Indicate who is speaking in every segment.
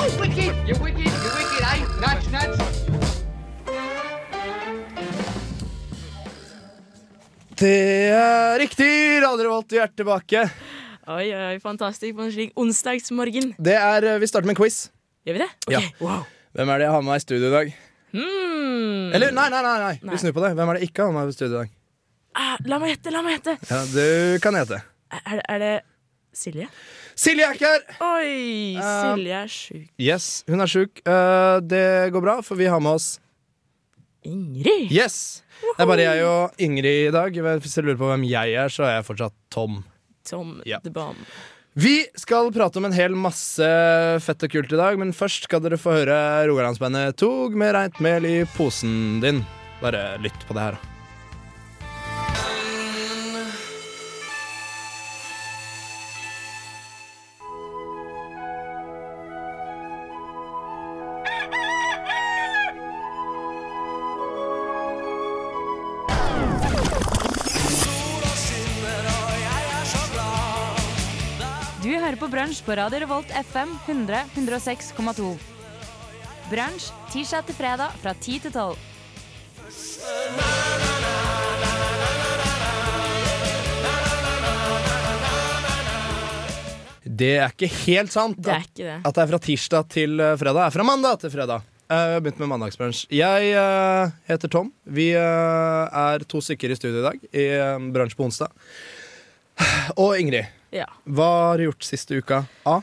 Speaker 1: You wicked, you wicked, I nuts, nuts.
Speaker 2: Det er riktig! Radio Revolt, vi er tilbake.
Speaker 3: Oi, oi, fantastisk på en slik onsdagsmorgen.
Speaker 2: Det er, eh, Vi starter med en quiz.
Speaker 3: Gjør vi det? Ok,
Speaker 2: Ja.
Speaker 3: Wow.
Speaker 2: Hvem er det jeg har med meg i studio i dag?
Speaker 3: Hmm.
Speaker 2: Eller nei, nei, nei, nei.
Speaker 3: Nei.
Speaker 2: vi snur på det. Hvem er det jeg ikke har med meg i studio i dag?
Speaker 3: Ah, la meg gjette, la meg gjette.
Speaker 2: Ja, Du kan hete
Speaker 3: Er, det- er det Silje?
Speaker 2: Silje er ikke her!
Speaker 3: Oi,
Speaker 2: Eh,
Speaker 3: Silje er sjuk.
Speaker 2: Yes, hun er sjuk. Eh, det går bra, for vi har med oss
Speaker 3: Ingrid?
Speaker 2: Yes! Det er bare jeg og Ingrid i dag. Hvis du lurer på hvem jeg er, så er jeg fortsatt Tom.
Speaker 3: Tom
Speaker 2: Ja.
Speaker 3: the Bomb.
Speaker 2: Vi skal prate om en hel masse fett og kult i dag, men først skal dere få høre Rogalandsbandet Tog med reint mel i posen din. Bare lytt på det her, da.
Speaker 4: Du hører på Brunsj på Radio Revolt FM 100 106,2. Brunsj tirsdag til fredag fra 10 til 12.
Speaker 2: Det er ikke helt sant
Speaker 3: Det er
Speaker 2: at,
Speaker 3: ikke det.
Speaker 2: at det er fra tirsdag til eh, fredag. Det er fra mandag til fredag. Eh, Vi har begynt med mandagsbrunsj. Jeg eh, heter Tom. Vi eh, er to stykker i studio i dag i eh, Brunsj på onsdag. Og Ingrid,
Speaker 3: Ja.
Speaker 2: hva har du gjort siste uka? A.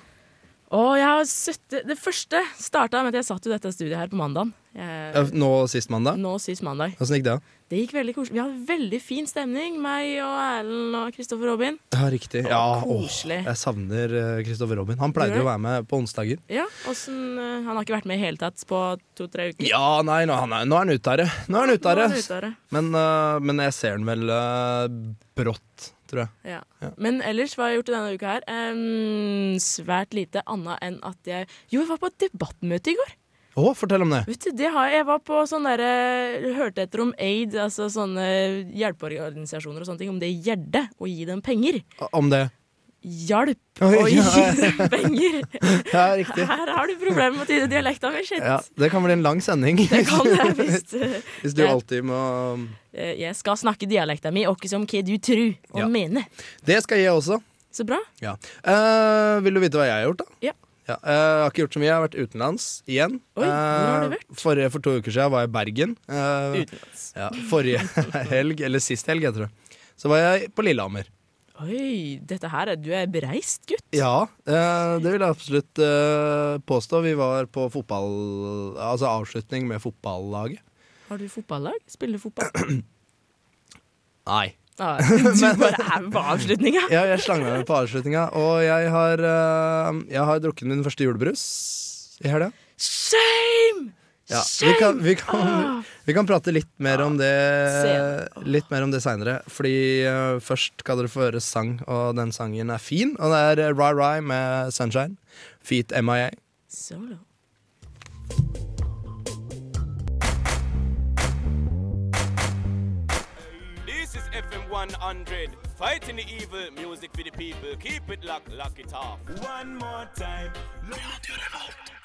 Speaker 3: Å, jeg har sittet Det første starta med at jeg satt i dette studiet her på mandagen.
Speaker 2: Ja,
Speaker 3: Jeg,
Speaker 2: Nå sist mandag?
Speaker 3: nå sist mandag.
Speaker 2: Åssen gikk det? da?
Speaker 3: Det gikk veldig koselig. Vi hadde veldig fin stemning, meg og Erlend og Kristoffer Robin.
Speaker 2: Ja, riktig.
Speaker 3: Å,
Speaker 2: Ja, åh,
Speaker 3: koselig.
Speaker 2: jeg savner Kristoffer Robin. Han pleide jo å være med på onsdager.
Speaker 3: Ja, åssen, eh, Han har ikke vært med i hele tatt på to-tre uker.
Speaker 2: Ja, nei, nå, han er, nå er han utare. Nå er han
Speaker 3: Nå
Speaker 2: utare.
Speaker 3: er han ute av det.
Speaker 2: Men, eh, men jeg ser han vel eh, brått, tror jeg.
Speaker 3: Ja.
Speaker 2: Ja.
Speaker 3: Men ellers, hva har jeg gjort i denne uka her? Em, svært lite annet enn at jeg Jo, jeg var på et debattmøte i går.
Speaker 2: Å, fortell om det.
Speaker 3: Vet du, det har jeg. jeg var på sånn derre Hørte etter om aid, altså sånne hjelpeorganisasjoner og sånne ting, om det gjelder å gi dem penger.
Speaker 2: Om det.
Speaker 3: Hjalp
Speaker 2: Oi,
Speaker 3: å gi
Speaker 2: ja.
Speaker 3: dem penger!
Speaker 2: Ja, riktig.
Speaker 3: Her har du problemer med å tyde dialekta mi, shit!
Speaker 2: Ja, det kan bli en lang sending.
Speaker 3: Det kan jeg visst.
Speaker 2: Hvis du
Speaker 3: Ja.
Speaker 2: alltid må
Speaker 3: Eh, Jeg skal snakke dialekta mi, og ikke som hva du tru og
Speaker 2: Ja.
Speaker 3: mener.
Speaker 2: Det skal jeg også.
Speaker 3: Så bra.
Speaker 2: Ja. Eh, vil du vite hva jeg har gjort, da?
Speaker 3: Ja.
Speaker 2: eh, jeg har ikke gjort så mye. Jeg har vært utenlands igjen.
Speaker 3: Oi, hvor har du
Speaker 2: Eh, forrige, for to uker siden var jeg i Bergen. Eh,
Speaker 3: Utenlands.
Speaker 2: ja, forrige helg, eller sist helg, jeg tror jeg. Så var jeg på Lillehammer.
Speaker 3: Oi, dette her er Du er bereist, gutt.
Speaker 2: Ja, eh, det vil jeg absolutt eh, påstå. Vi var på fotball... Altså avslutning med fotballaget.
Speaker 3: Har du fotballag? Spiller du fotball?
Speaker 2: Nei.
Speaker 3: Ah, du bare er på avslutninga.
Speaker 2: Ja, jeg slang meg med på avslutninga, og jeg har, eh, jeg har drukket min første julebrus i helga.
Speaker 3: Shame!
Speaker 2: Ja, vi,
Speaker 3: Shame!
Speaker 2: kan, vi, kan,
Speaker 3: Ah.
Speaker 2: vi kan prate litt mer om det
Speaker 3: Senere.
Speaker 2: Litt mer om det seinere. Fordi eh, først skal dere få høre sang, og den sangen er fin. Og det er eh, Ry Ry med Sunshine. Feet MIA.
Speaker 3: Solo.
Speaker 5: This is FM 100. Fighting the evil, music for the people. Keep it locked, lock it off. One more time.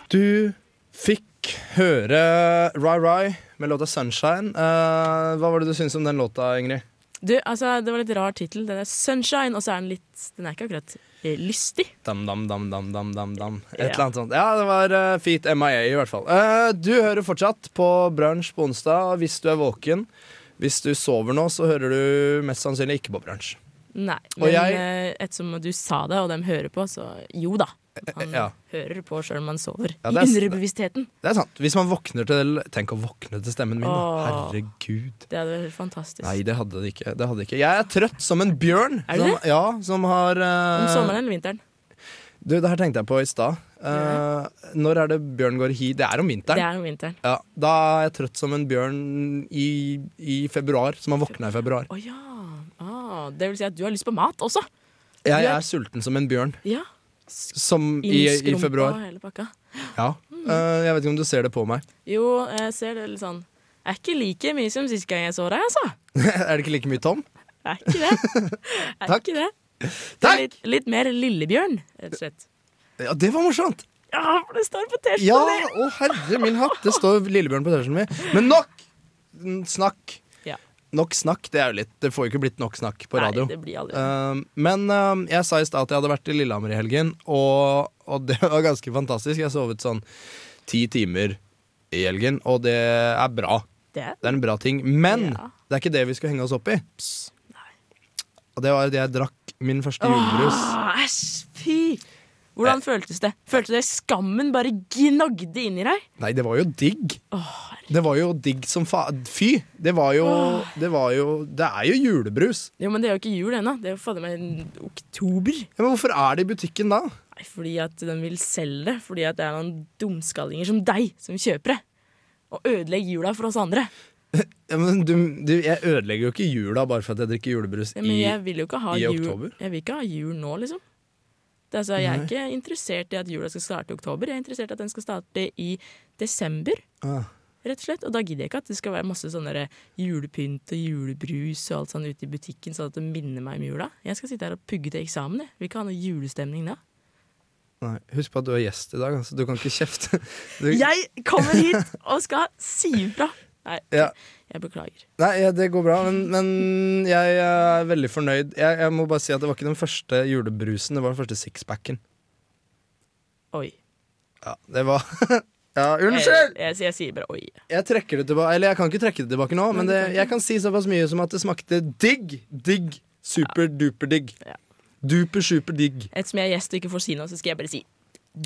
Speaker 2: Du fikk høre Ry Ry med låta Sunshine. Eh, hva var det du syntes om den låta, Ingrid?
Speaker 3: Du, altså, det var litt rar tittel. Den er Sunshine, og så er den litt Den er ikke akkurat eh, lystig.
Speaker 2: Dam, dam, dam, dam, dam, dam, dam. Et
Speaker 3: Ja.
Speaker 2: eller annet sånt. Ja, det var eh, Feet MIA, i hvert fall. Eh, du hører fortsatt på Brunsj på onsdag hvis du er våken. Hvis du sover nå, så hører du mest sannsynlig ikke på Brunsj.
Speaker 3: Nei.
Speaker 2: Og
Speaker 3: Men
Speaker 2: jeg-
Speaker 3: eh, ettersom du sa det, og dem hører på, så jo da. Man
Speaker 2: ja.
Speaker 3: hører på sjøl om man sover.
Speaker 2: Ja,
Speaker 3: I
Speaker 2: det er-
Speaker 3: underbevisstheten.
Speaker 2: Det er sant. Hvis man våkner til Tenk å våkne til stemmen min, da.
Speaker 3: Åh.
Speaker 2: Herregud.
Speaker 3: Det hadde vært helt fantastisk.
Speaker 2: Nei, det hadde det ikke. Det hadde det ikke. Jeg er trøtt som en bjørn.
Speaker 3: Er du
Speaker 2: som,
Speaker 3: det?
Speaker 2: Ja, som har eh,
Speaker 3: Om sommeren eller vinteren.
Speaker 2: Du, det her tenkte jeg på i stad. Eh, Når er det bjørn går hi? Det er om vinteren.
Speaker 3: Det er om vinteren.
Speaker 2: Ja, da er jeg trøtt som en bjørn i, i februar, som har våkna i februar.
Speaker 3: Å ja. Ah, det vil si at du har lyst på mat også.
Speaker 2: Jeg
Speaker 3: Du er-
Speaker 2: er sulten som en bjørn,
Speaker 3: Ja.
Speaker 2: som i, i
Speaker 3: Innskrumpa
Speaker 2: februar.
Speaker 3: Hele pakka.
Speaker 2: Ja.
Speaker 3: Mm.
Speaker 2: Eh, jeg vet ikke om du ser det på meg.
Speaker 3: Jo, jeg ser det litt sånn. Jeg er ikke like mye som sist gang jeg så deg, altså.
Speaker 2: er det ikke like mye Tom?
Speaker 3: Jeg er ikke det. Jeg er
Speaker 2: Takk.
Speaker 3: ikke det. Det er
Speaker 2: Takk!
Speaker 3: Litt, litt mer Lillebjørn, rett og slett.
Speaker 2: Ja, det var morsomt!
Speaker 3: Ja, for det står på T-skjorta
Speaker 2: Ja,
Speaker 3: di!
Speaker 2: å herre min hatt, det står Lillebjørn på T-skjorten min. Men nok mm, snakk.
Speaker 3: Ja.
Speaker 2: Nok snakk, det er jo litt Det får jo ikke blitt nok snakk på radio.
Speaker 3: Nei, det blir aldri.
Speaker 2: Um, men um, jeg sa i stad at jeg hadde vært i Lillehammer i helgen, og, og det var ganske fantastisk. Jeg sovet sånn ti timer i helgen, og det er bra.
Speaker 3: det
Speaker 2: Det er en bra ting. Men
Speaker 3: Ja.
Speaker 2: det er ikke det vi skal henge oss opp i. Og det var at jeg drakk min første julebrus.
Speaker 3: Åh, Æsj, fy! Hvordan føltes det? Følte du det skammen bare gnagde inni deg?
Speaker 2: Nei, det var jo digg. Det var jo digg som fa... Fy! Det var jo Det, var jo, det er jo julebrus.
Speaker 3: Jo, men det er jo ikke jul ennå. Det er jo fader meg en oktober.
Speaker 2: Ja, men hvorfor er det i butikken da?
Speaker 3: Nei, fordi at den vil selge det. Fordi at det er noen dumskallinger som deg som kjøper det. Og ødelegger jula for oss andre.
Speaker 2: Ja, men du, du, jeg ødelegger jo ikke jula bare for at jeg drikker julebrus
Speaker 3: Ja, men
Speaker 2: i
Speaker 3: jeg vil jo ikke ha
Speaker 2: i
Speaker 3: jul
Speaker 2: oktober?
Speaker 3: Jeg vil ikke ha jul nå, liksom. Det er altså, jeg er ikke interessert i at jula skal starte i oktober. Jeg er interessert i at den skal starte i desember.
Speaker 2: Ah.
Speaker 3: Rett og slett, og da gidder jeg ikke at det skal være masse sånne der julepynt og julebrus og alt sånn ute i butikken, sånn at det minner meg om jula. Jeg skal sitte her og pugge til eksamen. Jeg vil ikke ha noe julestemning da.
Speaker 2: Nei, husk på at du er gjest i dag, altså. Du kan ikke kjefte. Du,
Speaker 3: Jeg kommer hit og skal si ifra! Nei,
Speaker 2: Ja.
Speaker 3: jeg beklager.
Speaker 2: Nei, ja, det går bra, men, men jeg er veldig fornøyd. Jeg, jeg må bare si at det var ikke den første julebrusen, det var den første sixpacken.
Speaker 3: Oi.
Speaker 2: Ja, det var Ja,
Speaker 3: Jeg,
Speaker 2: unnskyld!
Speaker 3: jeg, jeg sier bare oi.
Speaker 2: Jeg trekker det tilbake Eller jeg kan ikke trekke det tilbake nå, men det, jeg kan si såpass mye som at det smakte digg. Digg. Super-duper-digg.
Speaker 3: Ja.
Speaker 2: Duper-super-digg.
Speaker 3: Ettersom jeg er gjest og ikke får si noe, så skal jeg bare si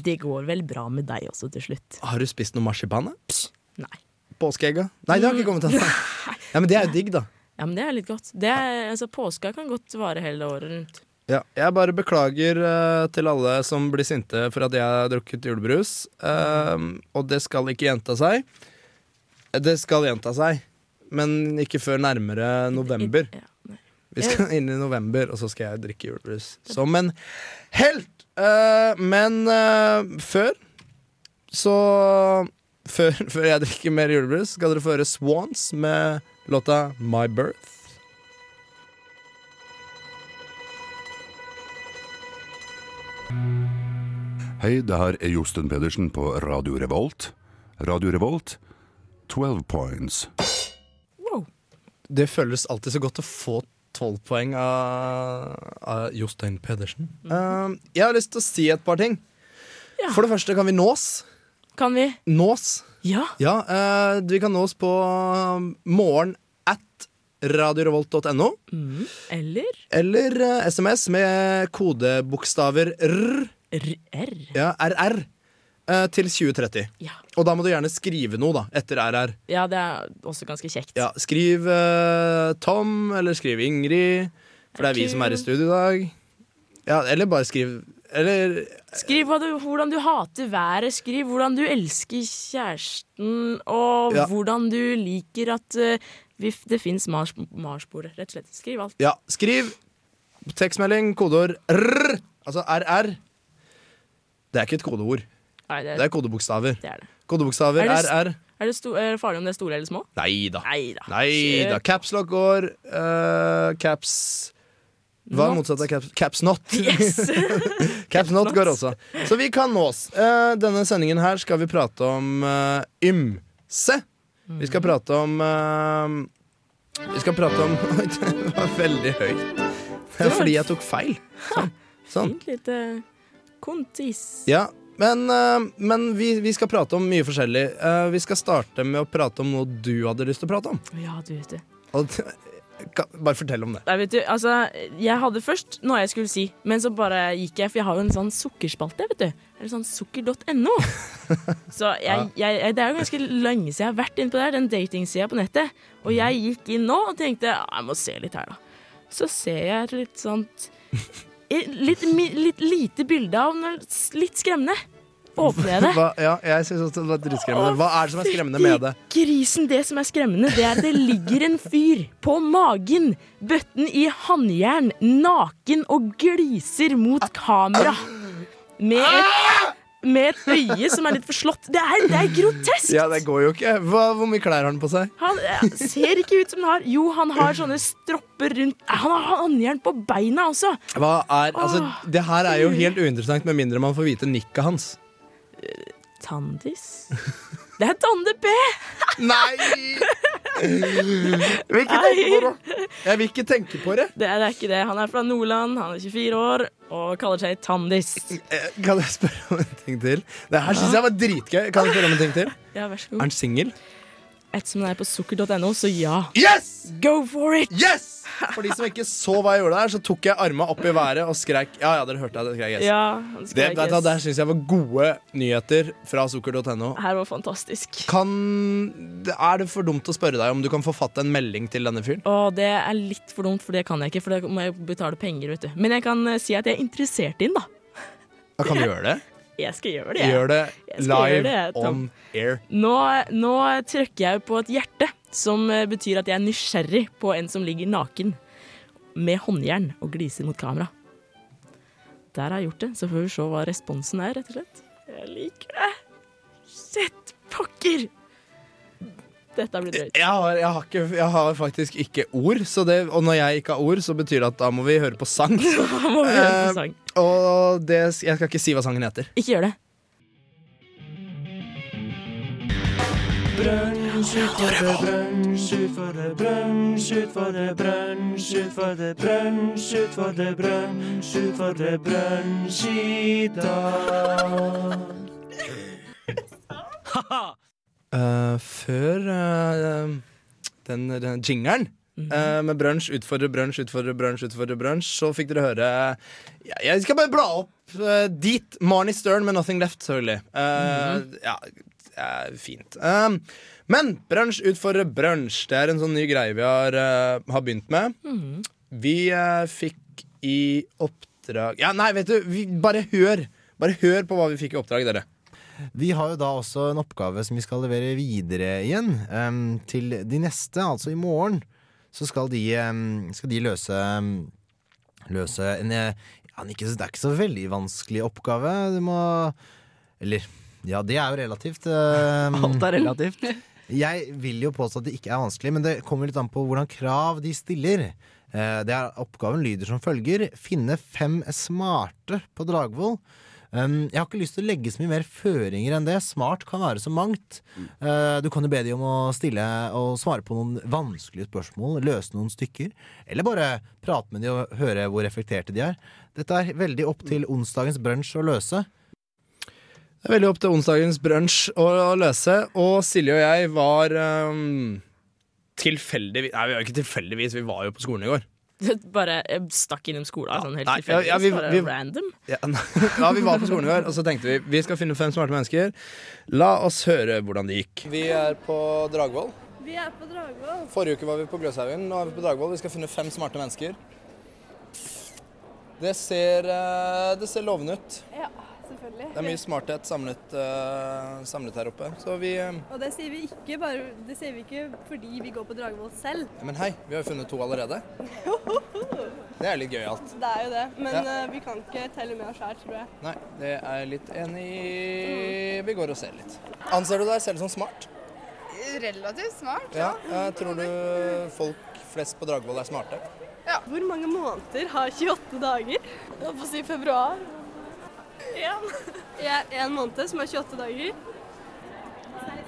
Speaker 3: det går vel bra med deg også til slutt.
Speaker 2: Har du spist noe marsipan? da?
Speaker 3: Nei.
Speaker 2: Påskeegga? Nei, det har ikke kommet ennå. Ja, men det er jo digg, da.
Speaker 3: Ja, men det er litt godt. Det er, altså, påska kan godt vare hele året rundt.
Speaker 2: Ja, jeg bare beklager eh, til alle som blir sinte for at jeg har drukket julebrus. Ehm, og det skal ikke gjenta seg. Det skal gjenta seg, men ikke før nærmere november.
Speaker 3: Ja, nei.
Speaker 2: Vi skal inn i november, og så skal jeg drikke julebrus. Som en helt! Eh, men eh, før så før, før jeg drikker mer julebrus, skal dere få høre Swans med låta My Birth.
Speaker 6: Hei, det her er Josten Pedersen på Radio Revolt. Radio Revolt, 12 points.
Speaker 3: Wow.
Speaker 2: Det føles alltid så godt å få tolv poeng av, av Jostein Pedersen. Eh, jeg har lyst til å si et par ting.
Speaker 3: Ja.
Speaker 2: For det første kan vi nås.
Speaker 3: Kan vi?
Speaker 2: Nås.
Speaker 3: Ja.
Speaker 2: Ja, eh, vi kan nås på morgen at radiorevolt.no.
Speaker 3: Mm. Eller
Speaker 2: Eller eh, SMS med kodebokstaver R,
Speaker 3: R.
Speaker 2: ja, RR eh, til 2030.
Speaker 3: Ja.
Speaker 2: Og da må du gjerne skrive noe da, etter RR.
Speaker 3: Ja, det er også ganske kjekt.
Speaker 2: Ja, skriv eh, Tom, eller skriv Ingrid, for det er vi som er i studio i dag. Ja, eller bare skriv Eller
Speaker 3: Skriv hva du, hvordan du hater været, skriv hvordan du elsker kjæresten, og
Speaker 2: Ja.
Speaker 3: hvordan du liker at eh, vi, det fins mars, marsboere, rett og slett. Skriv alt.
Speaker 2: Ja, skriv tekstmelding, kodeord RR, altså RR. Det er ikke et kodeord,
Speaker 3: Nei, det,
Speaker 2: det er kodebokstaver.
Speaker 3: det er det.
Speaker 2: Kodebokstaver
Speaker 3: Er det s-
Speaker 2: RR.
Speaker 3: Er det, sto, er det farlig om det er store eller små?
Speaker 2: Nei da.
Speaker 3: Nei da.
Speaker 2: Nei da. Caps lock går. eh, caps Hva er
Speaker 3: Not.
Speaker 2: motsatt av caps? Caps not.
Speaker 3: Yes!
Speaker 2: Caps Not går også. Så vi kan nås. Eh, denne sendingen her skal vi prate om eh, ymse. Vi skal prate om eh, Vi skal prate om Oi, det var veldig høyt. Det er fordi jeg tok feil. Sånn. sånn.
Speaker 3: Fint lite eh, kontis.
Speaker 2: Ja, men, eh, men vi, vi skal prate om mye forskjellig. Eh, vi skal starte med å prate om noe du hadde lyst til å prate om.
Speaker 3: Ja, du vet det.
Speaker 2: Og, kan, bare fortell om det.
Speaker 3: Nei, vet du, altså, jeg hadde først noe jeg skulle si, men så bare gikk jeg, for jeg har jo en sånn sukkerspalte, vet du. Eller sånn sukker.no. Så jeg, jeg, jeg, det er jo ganske lenge siden jeg har vært inne på det her, den datingsida på nettet. Og jeg gikk inn nå og tenkte "Ah, jeg må se litt her, da. Så ser jeg et litt sånt Litt, mi- litt lite bilde av noe litt skremmende. Åpner jeg det?
Speaker 2: Hva, ja, jeg synes også det var dritskremmende. Hva er det som er skremmende med det?
Speaker 3: Fytti Grisen, det som er skremmende, det er at det ligger en fyr på magen, bøtten i håndjern, naken og gliser mot kamera. Med et, med et øye som er litt forslått. Det er, det er grotesk!
Speaker 2: Ja, det går jo ikke. Hva, hvor mye klær har han på seg?
Speaker 3: Han eh, ser ikke ut som han har Jo, han har sånne stropper rundt Eh, Han har håndjern på beina også.
Speaker 2: Hva er, altså, det her er jo helt uinteressant med mindre man får vite nikket hans.
Speaker 3: Tandis? Det er Tande P!
Speaker 2: Nei! Jeg vil ikke tenke på det. Jeg vil ikke tenke på det.
Speaker 3: Det er, det er ikke det. Han er fra Nordland, han er 24 år og kaller seg Tandis.
Speaker 2: Eh, Kan jeg spørre om en ting til? Det her syns jeg var dritgøy. Kan jeg spørre om en ting til?
Speaker 3: Ja, vær så
Speaker 2: Er
Speaker 3: god.
Speaker 2: han singel?
Speaker 3: Ettersom det er på sukker.no, så ja.
Speaker 2: Yes!
Speaker 3: Go for it!
Speaker 2: Yes! For de som ikke så hva jeg gjorde der, så tok jeg arma opp i været og skreik. Ja, ja, dere hørte jeg det skreik. Yes.
Speaker 3: Ja, han
Speaker 2: Det,
Speaker 3: skal
Speaker 2: vet du,
Speaker 3: legges.
Speaker 2: hva, der syns jeg var gode nyheter fra sukker.no.
Speaker 3: Her var fantastisk.
Speaker 2: Kan, er det for dumt å spørre deg om du kan forfatte en melding til denne fyren?
Speaker 3: Og det er litt for dumt, for det kan jeg ikke, for da må jeg betale penger, vet du. Men jeg kan eh, si at jeg er interessert i den, da.
Speaker 2: Ja, Kan du gjøre det?
Speaker 3: Jeg skal gjøre det. jeg.
Speaker 2: Gjør det
Speaker 3: Jeg skal gjøre
Speaker 2: live
Speaker 3: det, Tom.
Speaker 2: on air.
Speaker 3: Nå, nå trykker jeg på et hjerte, som eh, betyr at jeg er nysgjerrig på en som ligger naken med håndjern og gliser mot kamera. Der har jeg gjort det, så får vi se hva responsen er, rett og slett. Jeg liker det. Sett pokker! Dette blir drøyt.
Speaker 2: Jeg har, jeg, har ikke, jeg har faktisk ikke ord, så det, og når jeg ikke har ord, så betyr det at da må vi høre på sang.
Speaker 3: Da må vi høre på sang.
Speaker 2: Og det, jeg skal ikke si hva sangen heter.
Speaker 3: Ikke gjør det.
Speaker 2: Eh, før eh, den, den jingeren eh, med brunsj, utfordre brunsj, utfordre brunsj, utfordre brunsj, så fikk dere høre ja, Jeg skal bare bla opp eh, dit. Marnie Stern med 'Nothing Left', selvfølgelig. Eh, Ja, det er fint. Eh, men brunsj utfordre brunsj. Det er en sånn ny greie vi har, eh, har begynt med. Vi eh, fikk i oppdrag Ja, nei, vet du, vi, bare hør. Bare hør på hva vi fikk i oppdrag, dere.
Speaker 7: Vi har jo da også en oppgave som vi skal levere videre igjen em, til de neste, altså i morgen. Så skal de, em, skal de løse, em, løse en eh, ja, en ikke, Det er ikke så veldig vanskelig oppgave. Du må Eller ja, det er jo relativt. em.
Speaker 8: Alt er relativt.
Speaker 7: Jeg vil jo påstå at det ikke er vanskelig, men det kommer litt an på hvordan krav de stiller. Eh, Det er Oppgaven lyder som følger finne fem smarte på Dragvoll. Um, Jeg har ikke lyst til å legge så mye mer føringer enn det. Smart kan være så mangt. Eh, Du kan jo be de om å stille og svare på noen vanskelige spørsmål, løse noen stykker. Eller bare prate med de og høre hvor reflekterte de er. Dette er veldig opp til onsdagens brunsj å løse.
Speaker 2: Det er veldig opp til onsdagens brunsj å, å løse, og Silje og jeg var ehm, tilfeldigvis Nei, vi var jo ikke tilfeldigvis, vi var jo på skolen i går.
Speaker 3: Bare jeg stakk innom skolen sånn helt
Speaker 2: nei, ja,
Speaker 3: tilfeldigvis.
Speaker 2: ja, vi-
Speaker 3: bare
Speaker 2: vi-
Speaker 3: random.
Speaker 2: Ja, ja, vi var på skolen i går, og så tenkte vi vi skal finne fem smarte mennesker. La oss høre hvordan det gikk. Vi er på Dragvoll.
Speaker 9: Vi er på Dragvoll.
Speaker 2: Forrige uke var vi på Gløshaugen, nå er vi på Dragvoll. Vi skal finne fem smarte mennesker. Det ser, eh, det ser lovende ut.
Speaker 9: Ja, selvfølgelig.
Speaker 2: Det er mye smarthet samlet, eh, samlet her oppe. Så vi eh,
Speaker 9: Og det sier vi ikke bare det sier vi ikke fordi vi går på Dragvoll selv.
Speaker 2: Men hei, vi har jo funnet to allerede. Det er litt gøyalt.
Speaker 9: Det er jo det. Men
Speaker 2: Ja.
Speaker 9: eh, vi kan ikke telle med oss sjæl, tror jeg.
Speaker 2: Nei, det er jeg litt enig i. Vi går og ser litt. Anser du deg selv som smart?
Speaker 10: Relativt smart.
Speaker 2: Ja. eh, tror du folk flest på Dragvoll er smarte?
Speaker 9: Hvor mange måneder har 28 dager? Jeg holdt på å si februar. Én. Én måned som er 28 dager.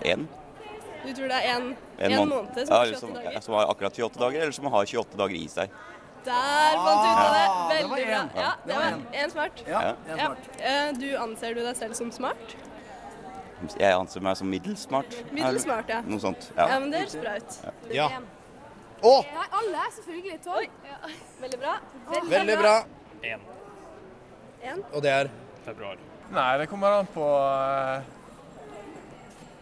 Speaker 5: En,
Speaker 9: Du tror det er én
Speaker 5: en,
Speaker 9: En
Speaker 5: måned.
Speaker 9: måned som har
Speaker 5: Ja,
Speaker 9: 28 dager.
Speaker 5: Som har akkurat 28 dager, eller som har 28 dager i seg.
Speaker 9: Der fant du ut av det!
Speaker 2: Ah, det var
Speaker 9: Veldig bra.
Speaker 2: én.
Speaker 9: Ja,
Speaker 2: Det
Speaker 9: det
Speaker 2: var
Speaker 9: var én smart.
Speaker 5: Ja.
Speaker 9: Ja. Eh, Du anser du deg selv som smart?
Speaker 5: Jeg anser meg som middels smart.
Speaker 9: Middels smart, ja.
Speaker 5: Noe sånt.
Speaker 9: Ja,
Speaker 5: Ja.
Speaker 9: men det høres bra ut.
Speaker 2: Ja. Å,
Speaker 10: Nei, alle er selvfølgelig tolv.
Speaker 9: Veldig bra.
Speaker 2: veldig bra.
Speaker 8: En.
Speaker 9: En.
Speaker 2: Og det er
Speaker 8: Februar. Nei, det kommer an på eh,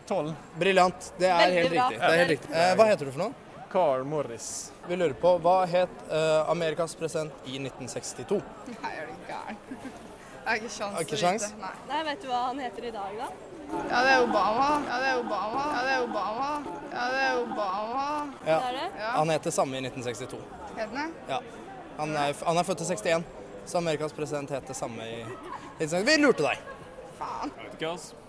Speaker 8: tolv.
Speaker 2: briljant. Det er
Speaker 9: Veldig
Speaker 2: helt
Speaker 9: bra.
Speaker 2: riktig. Det er helt riktig. Eh, hva heter du for noe?
Speaker 8: Carl Morris.
Speaker 2: Vi lurer på hva het eh, Amerikas president i 1962?
Speaker 10: Nei, er du gæren. Jeg har ikke sjans.
Speaker 2: Har ikke
Speaker 10: til å vite.
Speaker 2: sjans?
Speaker 10: Nei.
Speaker 9: Nei, vet du hva han heter i dag, da?
Speaker 10: Ja, det er Obama. Ja, det er Obama. Ja, det er Obama. Ja, det er Obama.
Speaker 2: Ja.
Speaker 9: Det er det?
Speaker 10: Ja.
Speaker 2: Han het det samme i 1962.
Speaker 10: Heter den det?
Speaker 2: Ja. Han er, han er født i 61, så Amerikas president het det samme i 1962. Vi lurte deg.
Speaker 10: Faen.
Speaker 8: Jeg vet ikke, altså.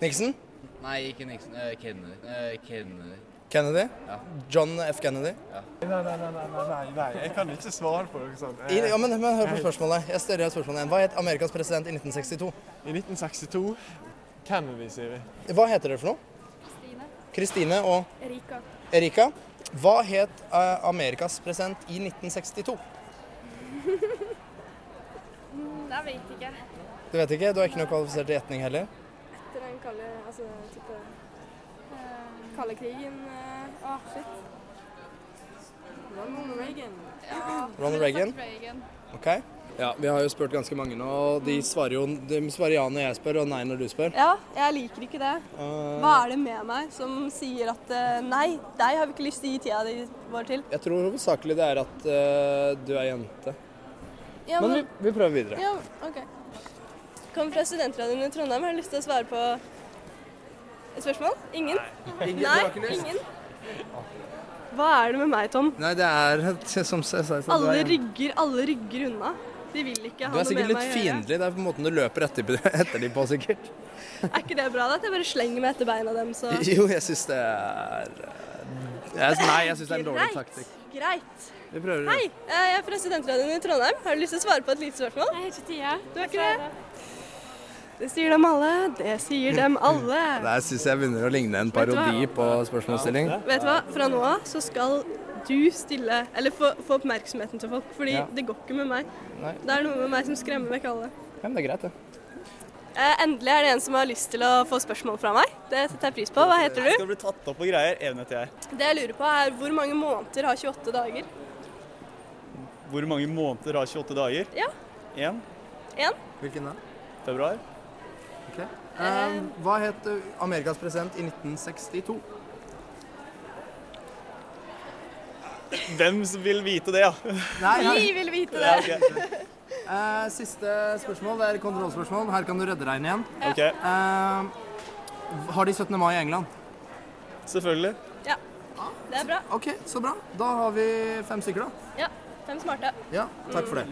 Speaker 2: Nixon?
Speaker 11: Nei, ikke Nixon. Kennedy. Kennedy.
Speaker 2: Kennedy? John F. Kennedy?
Speaker 8: Nei, nei, nei, nei, nei, nei, nei. Jeg kan ikke svare på noe sånt.
Speaker 2: I, ja, men, men hør på spørsmålet. Jeg større spørsmålet igjen. Hva het Amerikas president i 1962?
Speaker 8: I 1962 Kennedy, sier vi.
Speaker 2: Hva heter dere for noe? Kristine og
Speaker 10: Erika.
Speaker 2: Erika. Hva het eh, Amerikas president i 1962?
Speaker 10: Mm, Jeg vet ikke.
Speaker 2: Du vet ikke, du er ikke noe kvalifisert til gjetning heller.
Speaker 10: Etter den kalde Altså type kalde krigen eh, Åh, shit. Ronald Reagan. Ja,
Speaker 2: Ronald Reagan? Ok? Ja, vi har jo spurt ganske mange nå, og
Speaker 9: Mm.
Speaker 2: de svarer jo de svarer ja når jeg spør, og nei når du spør.
Speaker 9: Ja, jeg liker ikke det.
Speaker 2: Eh,
Speaker 9: Hva er det med meg som sier at eh, nei, deg har vi ikke lyst til å gi tida di vår til?
Speaker 2: Jeg tror hovedsakelig det er at eh, du er jente.
Speaker 9: Ja,
Speaker 2: men
Speaker 9: men-
Speaker 2: vi, vi prøver videre.
Speaker 9: Ja, OK. Kom fra studentradioen i Trondheim, har du lyst til å svare på et spørsmål? Ingen?
Speaker 2: Ingen,
Speaker 9: Nei,
Speaker 2: du har ikke lyst?
Speaker 9: ingen. Hva er det med meg, Tom?
Speaker 2: Nei, det er som jeg sa.
Speaker 9: Alle rygger, alle rygger unna. De vil ikke
Speaker 2: Du
Speaker 9: ha
Speaker 2: er
Speaker 9: noe
Speaker 2: sikkert
Speaker 9: med
Speaker 2: litt
Speaker 9: meg å gjøre.
Speaker 2: fiendtlig. Det er på måten du løper etter, etter dem på, sikkert.
Speaker 9: Er ikke det bra, da? At jeg bare slenger meg etter beina dem, så
Speaker 2: Jo, jeg syns det er eh, jeg, Nei, jeg syns det er en dårlig
Speaker 9: Greit.
Speaker 2: taktikk.
Speaker 9: Greit.
Speaker 2: Vi prøver
Speaker 9: Hei, eh, jeg er fra studentradioen i Trondheim. Har du lyst til å svare på et lite spørsmål? Jeg har ikke tida. Du har ikke det? Det sier dem alle. Det sier dem alle.
Speaker 2: Der syns jeg begynner å ligne en
Speaker 9: Vet du hva?
Speaker 2: parodi på spørsmålsstilling.
Speaker 9: Vet du hva, fra nå av så skal du stille, eller få, få oppmerksomheten til folk, fordi
Speaker 2: Ja.
Speaker 9: det går ikke med meg.
Speaker 2: Nei.
Speaker 9: Det er noe med meg som skremmer vekk alle.
Speaker 2: Ja, men det er greit, det.
Speaker 9: Eh, endelig er det en som har lyst til å få spørsmål fra meg. Det setter jeg pris på. Hva heter du?
Speaker 11: Skal bli tatt opp og greier. Evne til jeg.
Speaker 9: Det jeg lurer på er hvor mange måneder har 28 dager?
Speaker 11: Hvor mange måneder har 28 dager?
Speaker 9: Ja,
Speaker 11: Én.
Speaker 9: én.
Speaker 2: Hvilken da?
Speaker 11: Februar.
Speaker 2: Eh, hva het Amerikas president i 1962?
Speaker 11: Hvem som vil vite det, ja?
Speaker 9: Vi vil vite det.
Speaker 11: Ja, ok.
Speaker 2: Eh, siste spørsmål. Det er kontrollspørsmål. Her kan du redde deg inn igjen.
Speaker 11: Ok.
Speaker 2: Eh, har de 17. mai i England?
Speaker 11: Selvfølgelig.
Speaker 9: Ja. Det er bra.
Speaker 2: OK, så bra. Da har vi fem stykker, da.
Speaker 9: Ja, fem smarte.
Speaker 2: Ja, takk for det.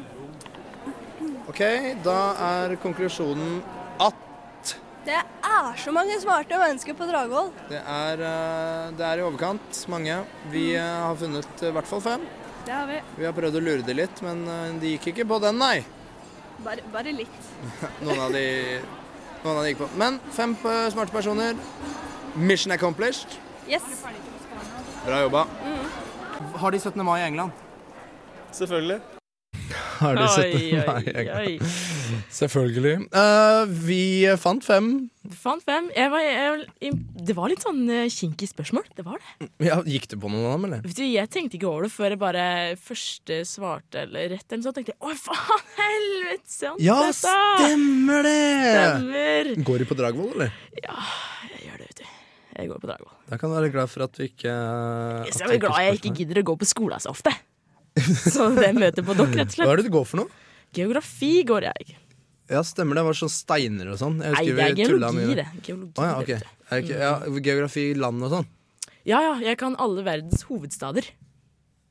Speaker 2: OK, da er konklusjonen at
Speaker 9: Det er så mange smarte mennesker på Dragvoll.
Speaker 2: det er, eh, det er i overkant mange. Vi eh, har funnet eh, i hvert fall fem.
Speaker 9: Det har vi.
Speaker 2: Vi har prøvd å lure det litt, men eh, de gikk ikke på den, nei.
Speaker 9: Bare, bare litt.
Speaker 2: Noen av de, noen av de gikk på. Men fem eh, smarte personer. Mission accomplished.
Speaker 9: Yes.
Speaker 2: Bra jobba. Mm-hmm. Har de 17. mai i England?
Speaker 11: Selvfølgelig.
Speaker 2: Har de
Speaker 11: Oi,
Speaker 2: 17. mai i
Speaker 11: oi,
Speaker 2: England?
Speaker 11: oi.
Speaker 2: Selvfølgelig. Eh, vi fant fem.
Speaker 3: Fant fem. Jeg var, jeg, var im- det var litt sånn eh, kinky spørsmål. Det var det.
Speaker 2: Ja, gikk du på noen av dem, eller?
Speaker 3: Vet du, jeg tenkte ikke over det før jeg bare første svarte eller rett. Eller så tenkte jeg å, faen helvete! sant
Speaker 2: Ja,
Speaker 3: dette!»
Speaker 2: stemmer det!
Speaker 3: Stemmer.
Speaker 2: Går de på Dragvoll, eller?
Speaker 3: Jeg går på Dragvoll.
Speaker 2: Da kan du være glad for at vi ikke
Speaker 3: Så jeg er vel glad jeg ikke gidder å gå på skolen så ofte. Så det møter på dere, rett og slett.
Speaker 2: Hva er det du går for noe?
Speaker 3: Geografi går jeg.
Speaker 2: Ja, stemmer det. Det var sånn steiner og sånn. Jeg
Speaker 3: Nei,
Speaker 2: husker
Speaker 3: det er
Speaker 2: vi tullet
Speaker 3: geologi,
Speaker 2: mye.
Speaker 3: det. Mm. Geologi,
Speaker 2: Å, ja, ok.
Speaker 3: det,
Speaker 2: Er det ikke, ja, geografi, land og sånn.
Speaker 3: Ja ja, jeg kan alle verdens hovedstader.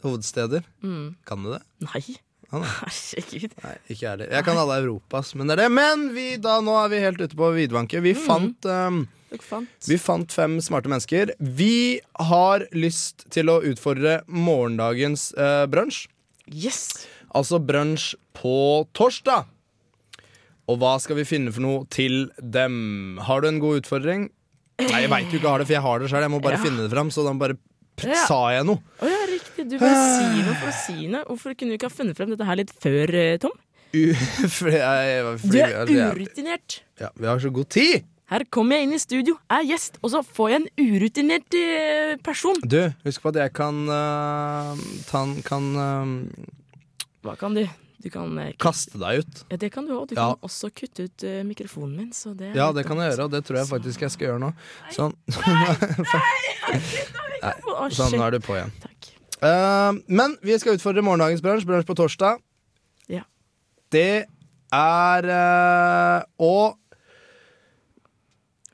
Speaker 2: Hovedsteder.
Speaker 3: Mm.
Speaker 2: Kan du det?
Speaker 3: Nei.
Speaker 2: Ah, nei.
Speaker 3: Herregud.
Speaker 2: Nei, ikke jeg heller. Jeg kan alle Europas, men det er det. Men vi, da, nå er vi helt ute på vidvanke.
Speaker 3: Mm.
Speaker 2: Vi fant ehm,
Speaker 3: Dere fant
Speaker 2: Vi fant fem smarte mennesker. Vi har lyst til å utfordre morgendagens eh, brunsj.
Speaker 3: Yes.
Speaker 2: Altså brunsj på torsdag. Og hva skal vi finne for noe til dem? Har du en god utfordring? Nei, jeg veit du ikke har det, for jeg har det sjøl. Jeg må bare
Speaker 3: Ja.
Speaker 2: finne det fram. Så da bare p-
Speaker 3: Ja.
Speaker 2: sa jeg noe.
Speaker 3: Å ja, riktig. Du bare sier noe for å si noe. Hvorfor kunne du ikke ha funnet frem dette her litt før, eh, Tom?
Speaker 2: U fordi jeg, fordi altså,
Speaker 3: Du er
Speaker 2: jeg-
Speaker 3: urutinert.
Speaker 2: Ja, vi har så god tid!
Speaker 3: Her kommer jeg inn i studio, er gjest, og så får jeg en urutinert eh, person.
Speaker 2: Du, husk på at jeg kan eh, ta, en- kan eh,
Speaker 3: Hva kan du? Du kan eh, kutte-
Speaker 2: Kaste deg ut.
Speaker 3: Ja, det kan du òg. Du
Speaker 2: Ja.
Speaker 3: kan også kutte ut eh, mikrofonen min. Så det er
Speaker 2: Ja,
Speaker 3: litt
Speaker 2: det kan jeg
Speaker 3: dumt.
Speaker 2: gjøre, og det tror jeg faktisk jeg skal gjøre nå. Sånn. Nei,
Speaker 3: Å,
Speaker 2: sånn,
Speaker 3: shit.
Speaker 2: nå er du på igjen. Eh, men vi skal utfordre morgendagens bransj, bransj på torsdag.
Speaker 3: Ja.
Speaker 2: Det er eh, å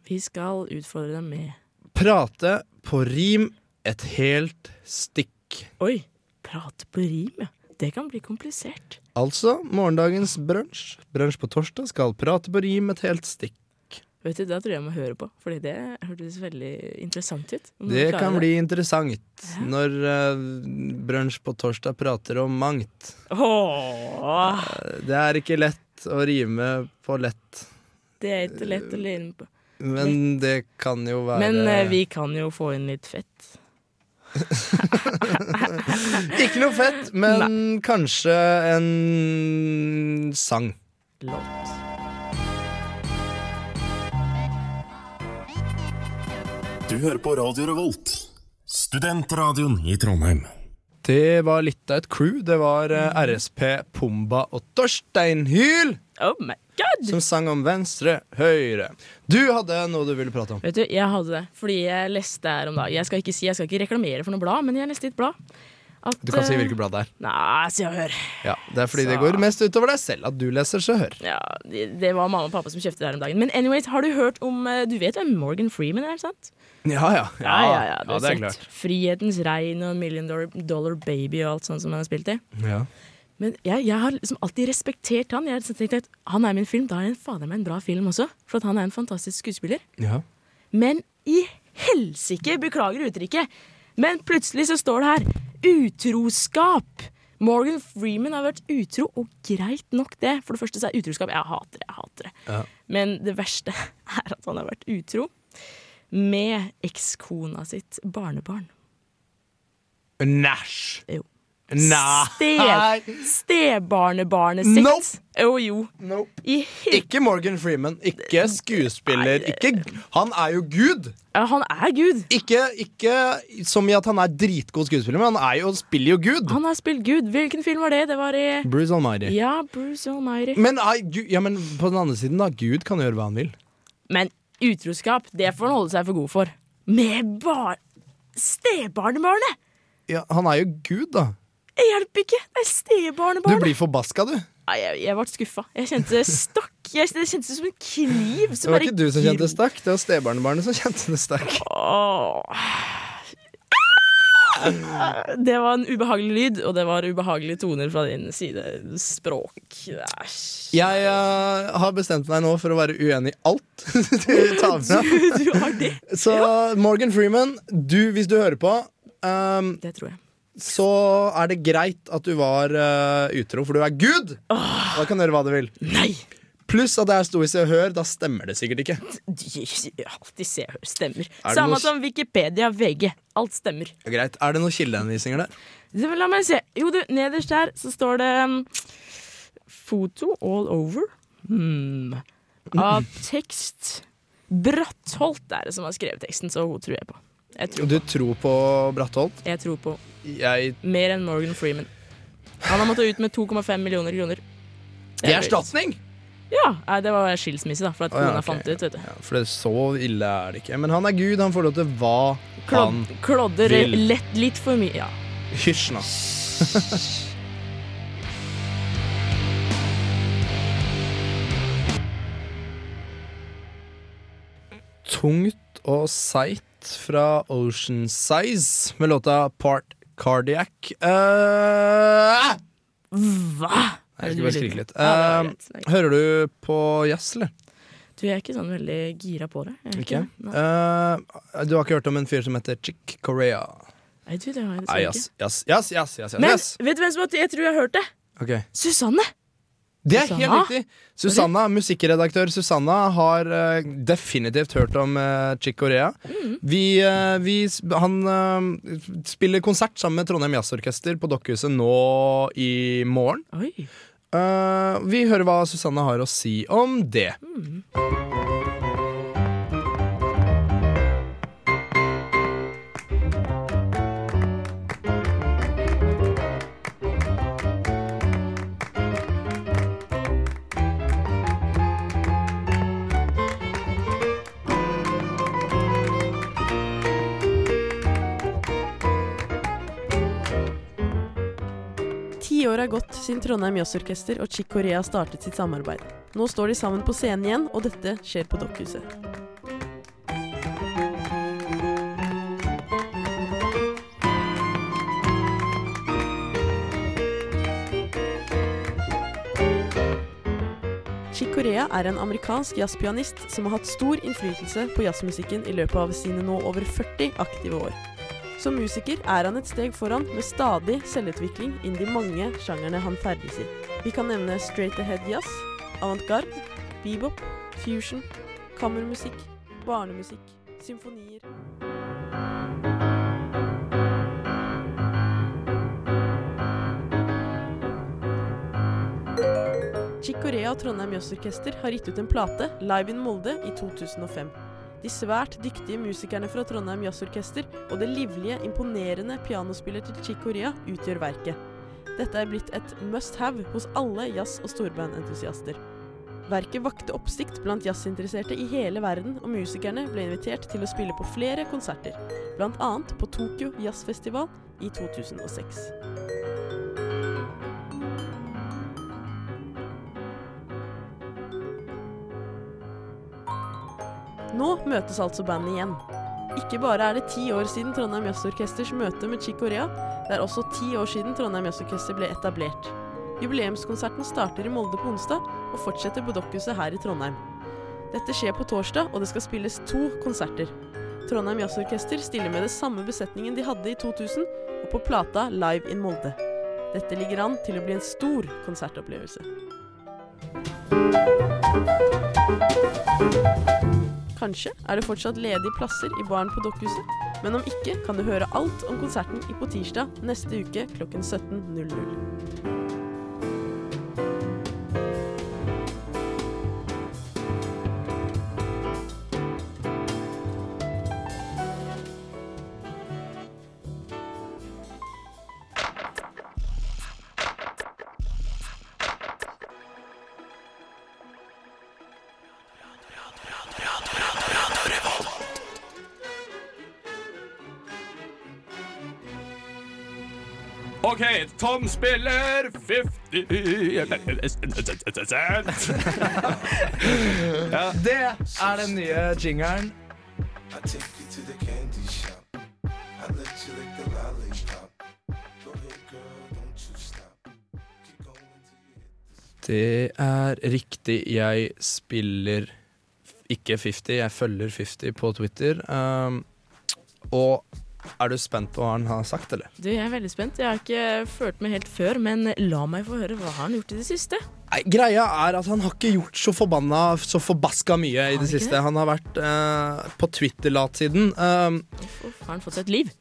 Speaker 3: Vi skal utfordre dem med
Speaker 2: prate på rim et helt stikk.
Speaker 3: Oi! Prate på rim, ja. Det kan bli komplisert.
Speaker 2: Altså, morgendagens bransj, bransj på torsdag, skal prate på rim et helt stikk.
Speaker 3: Vet du, Da tror jeg jeg må høre på, Fordi det hørtes veldig interessant ut. Om du
Speaker 2: Det
Speaker 3: klarer
Speaker 2: kan bli interessant når uh, Brunsj på torsdag prater om mangt.
Speaker 3: Åh,
Speaker 2: Det er ikke lett å rime på lett,
Speaker 3: det er ikke lett å lene på.
Speaker 2: men det kan jo være
Speaker 3: Men eh, vi kan jo få inn litt fett.
Speaker 2: Ikke noe fett, men kanskje en sang.
Speaker 3: Låt.
Speaker 12: Du hører på Radio Revolt, studentradioen i Trondheim.
Speaker 2: Det var litt av et crew. Det var eh,
Speaker 3: Mm.
Speaker 2: RSP, Pumba og Torstein Hyl
Speaker 3: Oh
Speaker 2: som sang om venstre, høyre. Du hadde noe du ville prate om.
Speaker 3: Vet du, jeg hadde det fordi jeg leste her om dagen. Jeg skal ikke, si, jeg skal ikke reklamere for noe blad, men jeg leste i et blad. At,
Speaker 2: Du kan si
Speaker 3: eh,
Speaker 2: hvilket blad det er.
Speaker 3: Nei, se og hør.
Speaker 2: Ja, det er fordi det
Speaker 3: Så-
Speaker 2: går mest utover deg selv at du leser Så hør.
Speaker 3: Ja, det, det var mamma og pappa som kjøpte det her om dagen. Men anyways, har du hørt om eh, Du vet hvem Morgan Freeman er, sant?
Speaker 2: Ja, ja.
Speaker 3: Ja, ja, ja,
Speaker 2: ja
Speaker 3: du har
Speaker 2: det er
Speaker 3: sett
Speaker 2: klart.
Speaker 3: Frihetens regn og Million Dollar, Dollar Baby og alt sånt som han har spilt i.
Speaker 2: Ja.
Speaker 3: Men jeg, jeg har liksom alltid respektert han. Jeg har liksom tenkt at han er min film, da er han fader meg en bra film også. For at han er en fantastisk skuespiller.
Speaker 2: Ja.
Speaker 3: Men i helsike, beklager uttrykket, men plutselig så står det her utroskap. Morgan Freeman har vært utro, og greit nok det. For det første så er utroskap Jeg hater det, jeg hater det.
Speaker 2: Ja.
Speaker 3: Men det verste er at han har vært utro med ekskona sitt barnebarn.
Speaker 2: Næsj!
Speaker 3: Jo.
Speaker 2: Nei!
Speaker 3: Ste, stebarnebarnet sitt.
Speaker 2: Nope.
Speaker 3: Jo, jo. I hel-
Speaker 2: Ikke Morgan Freeman, ikke skuespiller, ikke Han er jo Gud!
Speaker 3: han er Gud.
Speaker 2: Ikke, ikke som i at han er dritgod skuespiller, men han er jo, spiller jo Gud.
Speaker 3: Han har spilt Gud. Hvilken film var det? Det var i
Speaker 2: Bruce Almighty.
Speaker 3: Ja, Bruce Almighty.
Speaker 2: Men, nei, Gud- ja, men på den andre siden, da. Gud kan gjøre hva han vil.
Speaker 3: Men utroskap, det får han holde seg for god for. Med bare stebarnebarnet!
Speaker 2: Ja, han er jo Gud, da.
Speaker 3: Det hjelper ikke! Det er
Speaker 2: Du
Speaker 3: stebarnebarnet!
Speaker 2: blir forbaska, du.
Speaker 3: Nei, jeg, jeg ble skuffa. Jeg kjente stakk. Jeg, det kjentes som en kniv.
Speaker 2: Det
Speaker 3: Som
Speaker 2: var
Speaker 3: bare
Speaker 2: ikke du som
Speaker 3: gir-
Speaker 2: kjente det stakk, det var stebarnebarnet som kjente det stakk.
Speaker 3: Det var en ubehagelig lyd, og det var ubehagelige toner fra din side. Språk. Æsj.
Speaker 2: Jeg eh, har bestemt meg nå for å være uenig i alt du tar fra. Så Morgan Freeman, du, hvis du hører på ehm,
Speaker 3: Det tror jeg.
Speaker 2: Så er det greit at du var eh, utro, for du er Gud! Da kan du gjøre hva du vil. Pluss at det her sto i Se og Hør, da stemmer det sikkert ikke.
Speaker 3: Alltid se og hør. Stemmer.
Speaker 2: det
Speaker 3: Samme
Speaker 2: noe-
Speaker 3: som Wikipedia, VG. Alt stemmer.
Speaker 2: Ja, Greit. Er det noen kildeanvisninger der?
Speaker 3: Så La meg se. Jo, du, nederst der så står det um, Foto all over. Hmm. Av tekst. Brattholt er det som har skrevet teksten, så hun tror jeg på. Jeg tror,
Speaker 2: Du tror på Brattholt?
Speaker 3: jeg tror på
Speaker 2: Jeg
Speaker 3: Mer enn Morgan Freeman. Han har måttet ut med 2,5 millioner kroner.
Speaker 2: Det er erstatning!
Speaker 3: Ja, nei, det var skilsmisse, da, for at
Speaker 2: Å, ja,
Speaker 3: kona
Speaker 2: ok,
Speaker 3: fant ut. vet du
Speaker 2: For det så ille er det ikke. Men han er Gud, han får lov til hva han
Speaker 3: Klod, Klodder
Speaker 2: vil.
Speaker 3: lett litt for mye. Ja.
Speaker 2: Hysj nå. Tungt og seigt fra Ocean Size med låta Part Cardiac. Eh,
Speaker 3: Hva?
Speaker 2: Jeg skulle bare skrike litt.
Speaker 3: Ja, det var
Speaker 2: Eh,
Speaker 3: greit.
Speaker 2: hører du på jazz, eller?
Speaker 3: Du, jeg er ikke sånn veldig gira på det. Jeg er
Speaker 2: Ikke?
Speaker 3: det. Nei.
Speaker 2: Eh, du har ikke hørt om en fyr som heter Chick Corea?
Speaker 3: Nei, du, det har
Speaker 2: Nei,
Speaker 3: jeg dessverre
Speaker 2: jazz,
Speaker 3: ikke.
Speaker 2: jazz, jazz, jazz, jazz,
Speaker 3: Men
Speaker 2: jazz.
Speaker 3: vet du hvem som har Jeg tror jeg har hørt det?
Speaker 2: Ok.
Speaker 3: Susanne!
Speaker 2: Det er
Speaker 3: Susanna?
Speaker 2: helt riktig! Susanna, musikkredaktør Susanna har eh, definitivt hørt om eh, Chick Corea.
Speaker 3: Mm.
Speaker 2: Vi, eh, vi, sp- han eh, spiller konsert sammen med Trondheim Jazzorkester på Dokkhuset nå i morgen. Eh, vi hører hva Susanna har å si om det.
Speaker 13: Ti år har gått siden Trondheim Jazzorkester og Chick Corea startet sitt samarbeid. Nå står de sammen på scenen igjen, og dette skjer på Dokkhuset.
Speaker 3: Chick Corea er en amerikansk jazzpianist som har hatt stor innflytelse på jazzmusikken i løpet av sine nå over 40 aktive år. Som musiker er han et steg foran med stadig selvutvikling innen de mange sjangerne han ferdes i. Vi kan nevne straight ahead jazz, avantgarde, bebop, fusion, kammermusikk, barnemusikk, symfonier Chick Corea og Trondheim Jazzorkester har gitt ut en plate, Live in Molde, i 2005. De svært dyktige musikerne fra Trondheim Jazzorkester og det livlige, imponerende pianospiller til Chick Corea utgjør verket. Dette er blitt et must have hos alle jazz- og storbandentusiaster. Verket vakte oppsikt blant jazzinteresserte i hele verden, og musikerne ble invitert til å spille på flere konserter, bl.a. på Tokyo Jazzfestival i 2006. Nå møtes altså bandet igjen. Ikke bare er det ti år siden Trondheim Jazzorkesters møte med Chick Corea, det er også ti år siden Trondheim Jazzorkester ble etablert. Jubileumskonserten starter i Molde på onsdag og fortsetter på Dokkhuset her i Trondheim. Dette skjer på torsdag, og det skal spilles to konserter. Trondheim Jazzorkester stiller med det samme besetningen de hadde i 2000, og på plata Live in Molde. Dette ligger an til å bli en stor konsertopplevelse. Kanskje er det fortsatt ledige plasser i baren på Dokkhuset, men om ikke kan du høre alt om konserten i på tirsdag neste uke klokken 17.00.
Speaker 5: OK, Tom spiller 50
Speaker 2: Det er den nye jingeren. Det er riktig. Jeg spiller f- ikke 50, jeg følger 50 på Twitter. Um, og er du spent på hva han har sagt, eller?
Speaker 14: Du, jeg er veldig spent. Jeg har ikke følt meg helt før, men la meg få høre hva har han gjort i det siste.
Speaker 2: Nei, greia er at han har ikke gjort så forbanna Så forbaska mye i det siste. Han har vært eh, på Twitter-latsiden. Um,
Speaker 14: Har han fått seg et liv?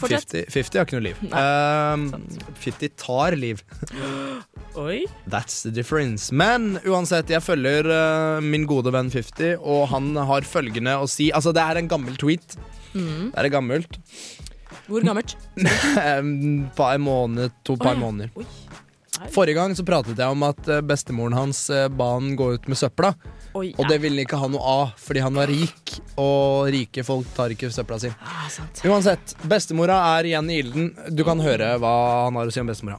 Speaker 14: Fortsett.
Speaker 2: 50, 50 har ikke noe liv. Um, 50 tar liv.
Speaker 14: Oi.
Speaker 2: That's the difference. Men uansett, jeg følger eh, min gode venn 50, og han har følgende å si Altså, det er en gammel tweet.
Speaker 14: Mm.
Speaker 2: Det er gammelt.
Speaker 14: Hvor gammelt?
Speaker 2: Et par måneder, to par
Speaker 14: Å, ja.
Speaker 2: måneder.
Speaker 14: Oi. Nei.
Speaker 2: Forrige gang så pratet jeg om at eh, bestemoren hans eh, ba han gå ut med søpla.
Speaker 14: Oi,
Speaker 2: Og det ville han ikke ha noe av, fordi han var rik, og rike folk tar ikke søpla si. Uansett, bestemora er igjen i ilden. Du kan høre hva han har å si om bestemora.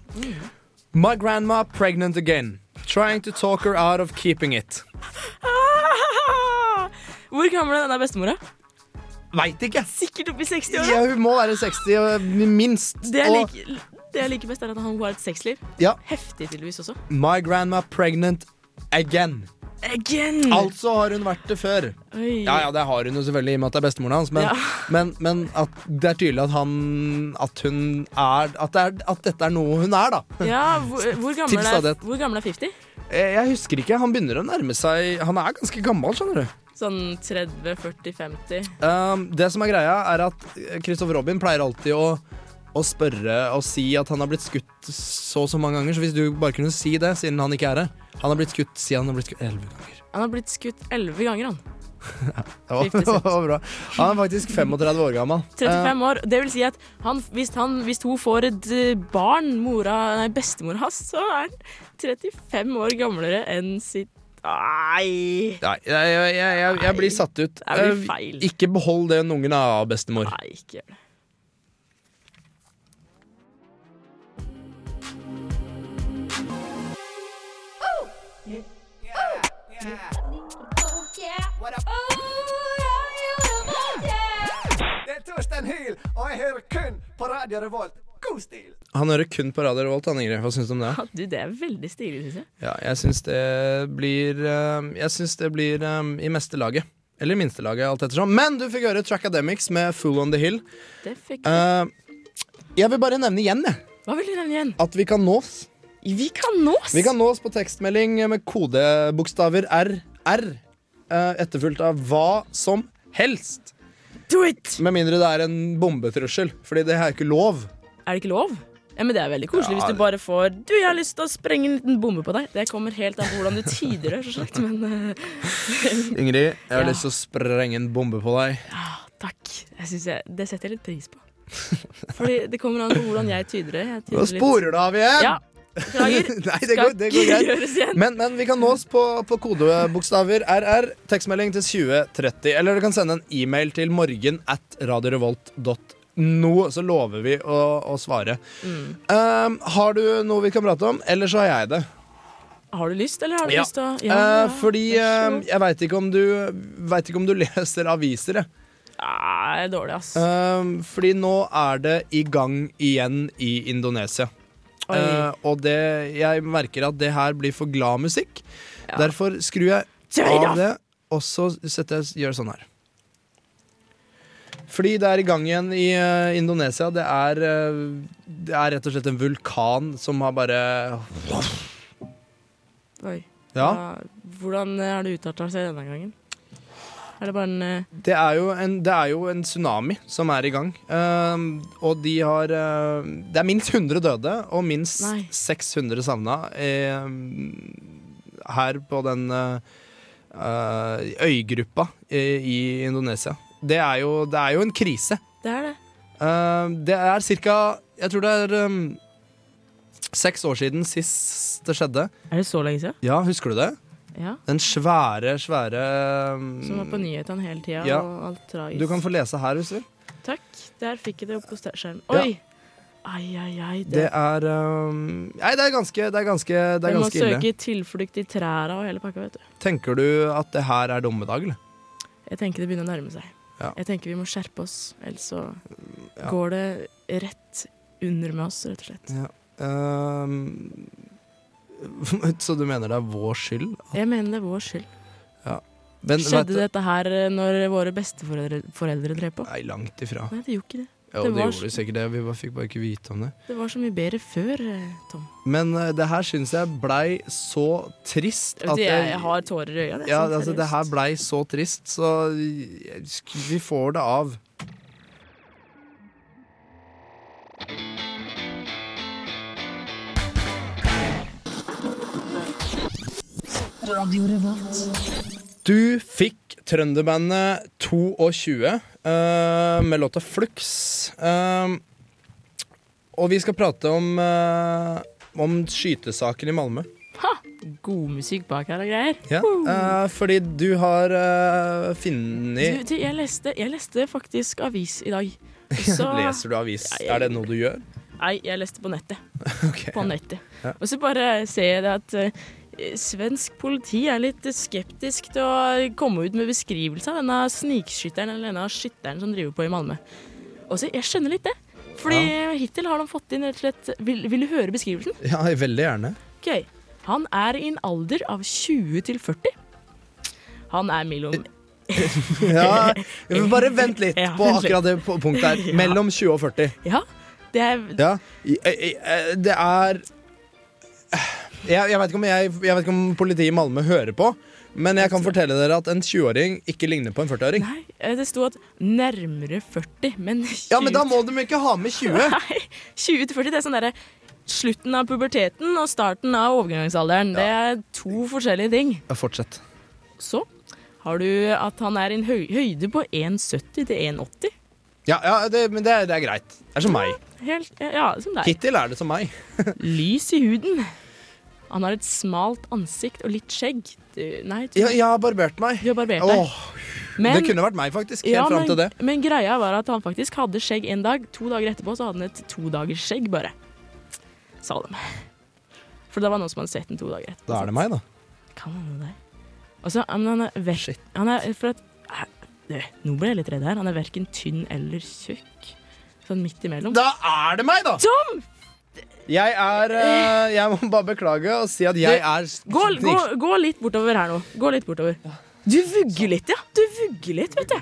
Speaker 2: My grandma pregnant again. Trying to talk her out of keeping it.
Speaker 14: Hvor gammel er denne bestemora?
Speaker 2: Veit ikke.
Speaker 14: Sikkert oppi 60 år.
Speaker 2: Ja, hun må være 60, og minst.
Speaker 14: Det jeg
Speaker 2: og-
Speaker 14: liker, det jeg liker best, er at han har et sexliv.
Speaker 2: Ja.
Speaker 14: Heftig, tydeligvis også.
Speaker 2: My grandma pregnant again.
Speaker 14: Again!
Speaker 2: Altså har hun vært det før.
Speaker 14: Oi.
Speaker 2: Ja, ja, det har hun jo selvfølgelig i og med at det er bestemoren hans, men,
Speaker 14: Ja.
Speaker 2: men, men at det er tydelig at han At hun er At, det er, at dette er noe hun er, da.
Speaker 14: Ja, hvor, hvor, gammel
Speaker 2: Tips av
Speaker 14: er,
Speaker 2: det.
Speaker 14: hvor gammel er 50?
Speaker 2: Eh, Jeg husker ikke. Han begynner å nærme seg Han er ganske gammel, skjønner du.
Speaker 14: Sånn 30-40-50.
Speaker 2: Um, det som er greia, er at Kristoffer Robin pleier alltid å å spørre og si at han har blitt skutt så og så mange ganger. Så hvis du bare kunne si det, siden han ikke er her. Han har blitt skutt, si han har blitt skutt elleve ganger.
Speaker 14: Han har blitt skutt 11 ganger, han.
Speaker 2: Det var, det var bra. Han er faktisk 35 år gammel. Eh.
Speaker 14: 35 år. Det vil si at han, hvis, han, hvis hun får et eh, barn, mora, nei, bestemor hans, så er han 35 år gamlere enn sitt Nei!
Speaker 2: Nei, jeg, jeg, jeg, jeg, jeg blir satt ut.
Speaker 14: det blir
Speaker 2: Eh,
Speaker 14: feil.
Speaker 2: Ikke behold den ungen av bestemor.
Speaker 14: Nei, ikke gjør det.
Speaker 9: Det er Torstein Hyl, og jeg hører kun på Radio Revolt. God
Speaker 2: Han hører kun på Radio Revolt, han Ingrid. Hva syns du om det?
Speaker 3: Ja, du, det er veldig stilig, syns jeg.
Speaker 2: Ja, jeg syns det blir eh, Jeg syns det blir eh, i meste laget. Eller i minste laget, alt ettersom. Men du fikk høre Trackademics med Fool on the Hill.
Speaker 3: Det fikk
Speaker 2: Eh, jeg vil bare nevne igjen, jeg.
Speaker 3: Hva vil du nevne igjen?
Speaker 2: At vi kan nås.
Speaker 3: Vi kan nås?
Speaker 2: Vi kan nås på tekstmelding med kodebokstaver R. R. eh, etterfulgt av hva som helst.
Speaker 3: Do it!
Speaker 2: Med mindre det er en bombetrussel, Fordi det er ikke lov.
Speaker 3: Er det ikke lov? Ja, men Det er veldig koselig
Speaker 2: Ja,
Speaker 3: hvis
Speaker 2: det-
Speaker 3: du bare får Du, jeg har lyst til å sprenge en liten bombe på deg. Det kommer helt an på hvordan du tider det, så slett, men eh,
Speaker 2: Ingrid, jeg har
Speaker 3: Ja.
Speaker 2: lyst til å sprenge en bombe på deg.
Speaker 3: eh, Takk. Jeg synes jeg, det setter jeg litt pris på. Fordi det kommer an på hvordan jeg tyder det. Jeg tyder
Speaker 2: Nå
Speaker 3: litt-
Speaker 2: sporer du av igjen!
Speaker 3: Ja. Beklager.
Speaker 2: Nei, det
Speaker 3: Skal
Speaker 2: går, det går
Speaker 3: ikke gjøres
Speaker 2: greit.
Speaker 3: igjen.
Speaker 2: Men, men vi kan nås på, på kodebokstaver RR, tekstmelding til 2030. Eller du kan sende en e-mail til morgen at radiorevolt.no, så lover vi å, å svare.
Speaker 3: Mm.
Speaker 2: Um, har du noe vi kan prate om? Eller så har jeg det.
Speaker 3: Har du lyst, eller har du
Speaker 2: Ja.
Speaker 3: lyst til å
Speaker 2: Eh, fordi eh, jeg veit ikke, om du- vet ikke om du leser aviser, jeg.
Speaker 3: Nei, Ah, jeg er dårlig, ass.
Speaker 2: Um, fordi nå er det i gang igjen i Indonesia.
Speaker 3: Oi.
Speaker 2: Eh, og det, jeg merker at det her blir for glad musikk. Derfor skrur jeg
Speaker 3: Trade off!
Speaker 2: av det, og så setter jeg, gjør jeg sånn her. Fordi det er i gang igjen i eh, Indonesia. Det er, eh, det er rett og slett en vulkan som har bare
Speaker 3: Oi.
Speaker 2: Ja.
Speaker 3: Hva- Hvordan eh, har det utarta seg denne gangen? Er det bare en eh,
Speaker 2: Det er jo en, det er jo en tsunami som er i gang. Ehm, og de har eh, Det er minst 100 døde og minst
Speaker 3: Nei.
Speaker 2: 600 savna eh, her på den eh, eh, øygruppa i, i Indonesia. Det er, jo, det er jo en krise.
Speaker 3: Det er det.
Speaker 2: Ehm, det er cirka Jeg tror det er ehm, seks år siden sist det skjedde.
Speaker 3: Er det så lenge siden?
Speaker 2: Ja, husker du det?
Speaker 3: Ja.
Speaker 2: Den svære, svære ehm,
Speaker 3: Som var på nyhetene hele tida,
Speaker 2: ja.
Speaker 3: og alt tragisk.
Speaker 2: Du kan få lese her, hvis du vil.
Speaker 3: Takk. Der fikk jeg det opp på ster- skjermen.
Speaker 2: Ja.
Speaker 3: Oi! Ai, ai, ai.
Speaker 2: Det er um, Nei, det er ganske, det er ganske, det er
Speaker 3: Jeg må
Speaker 2: ganske ille.
Speaker 3: søke tilflukt i træra og hele pakka, vet du.
Speaker 2: Tenker du at det her er dommedag, eller?
Speaker 3: Jeg tenker det begynner å nærme seg.
Speaker 2: Ja.
Speaker 3: Jeg tenker vi må skjerpe oss, ellers så
Speaker 2: Ja.
Speaker 3: går det rett under med oss, rett og slett.
Speaker 2: Ja. Um, så du mener det er vår skyld?
Speaker 3: Jeg mener det er vår skyld.
Speaker 2: Ja. Men vet
Speaker 3: Skjedde
Speaker 2: du-
Speaker 3: dette her eh, når våre besteforeldre foreldre drev på?
Speaker 2: Nei, langt ifra.
Speaker 3: Nei, det gjorde ikke det.
Speaker 2: Jo,
Speaker 3: det,
Speaker 2: det,
Speaker 3: var,
Speaker 2: gjorde det sikkert det, vi bare fikk bare ikke vite om det.
Speaker 3: det var så mye bedre før, eh, Tom.
Speaker 2: Men uh, det her syns jeg blei så trist
Speaker 3: Vet du, jeg, jeg har tårer i øya. det er
Speaker 2: ja,
Speaker 3: sånn
Speaker 2: altså, det
Speaker 3: seriøst.
Speaker 2: her blei så trist, så jeg- sk- vi får det av.
Speaker 15: Radio Revolt.
Speaker 2: Du fikk trønderbandet 22 eh, med låta Flux. Eh, og vi skal prate om, eh, om skytesaken i Malmö.
Speaker 3: Ha! God musikk bak her og greier.
Speaker 2: Ja.
Speaker 3: Woo!
Speaker 2: eh, fordi du har uh, funnet
Speaker 3: Du, du, jeg, leste, jeg leste faktisk avis i dag. Og så-
Speaker 2: Leser du avis? Er det noe du gjør?
Speaker 3: Nei, jeg leste på nettet. På nettet.
Speaker 2: Ja.
Speaker 3: Og så bare ser jeg det at eh, svensk politi er litt skeptisk til å komme ut med beskrivelse av denne snikskytteren eller denne skytteren som driver på i Malmö. Og så, jeg skjønner litt det. Fordi hittil har de fått inn rett og slett Vil, vil du høre beskrivelsen?
Speaker 2: Ja, veldig gjerne.
Speaker 3: Ok, Han er i en alder av 20 til 40. Han er mellom
Speaker 2: Ja, men bare vent litt
Speaker 3: Ja,
Speaker 2: på
Speaker 3: vent litt.
Speaker 2: akkurat det på- punktet her.
Speaker 3: Ja.
Speaker 2: Mellom 20 og 40.
Speaker 3: Ja, det er
Speaker 2: Ja. I- i- i- Det er jeg, jeg, vet ikke om jeg, jeg vet ikke om politiet i Malmö hører på, men jeg kan fortelle dere at en 20-åring ikke ligner på en 40-åring.
Speaker 3: Eh, Det sto at nærmere 40, men 20
Speaker 2: Ja, men da må de ikke ha med 20.
Speaker 3: Nei, 20 til 40, det er sånn derre Slutten av puberteten og starten av overgangsalderen. Det er to forskjellige ting.
Speaker 2: Ja, Fortsett.
Speaker 3: Så har du at han er i en høy høyde på 1,70 til 1,80.
Speaker 2: Ja, ja det, men det, er- det er greit. Det er som meg.
Speaker 3: Helt, ja, som deg.
Speaker 2: Hittil er det som meg.
Speaker 3: Lys i huden. Han har et smalt ansikt og litt skjegg. Du, nei, du,
Speaker 2: Ja, jeg har barbert meg.
Speaker 3: Du har barbert deg.
Speaker 2: Åh, det kunne vært meg, faktisk. Helt
Speaker 3: Ja,
Speaker 2: fram
Speaker 3: men-
Speaker 2: til det.
Speaker 3: Men greia var at han faktisk hadde skjegg en dag. To dager etterpå så hadde han et todagers-skjegg, bare. Sa de. For det var noen som hadde sett den to dager etterpå.
Speaker 2: Da er det meg, da.
Speaker 3: Kan han det? Og så, men han er, ver- han er for at, Hæ? Du, Nå ble jeg litt redd her. Han er verken tynn eller tjukk. Så Sånn midt imellom.
Speaker 2: Da er det meg, da!
Speaker 3: Tom!
Speaker 2: Jeg er eh, Jeg må bare beklage og si at jeg
Speaker 3: Du,
Speaker 2: er
Speaker 3: Gå, gå, gå litt bortover her nå. Gå litt bortover. Du vugger litt, ja. Du vugger litt, vet du.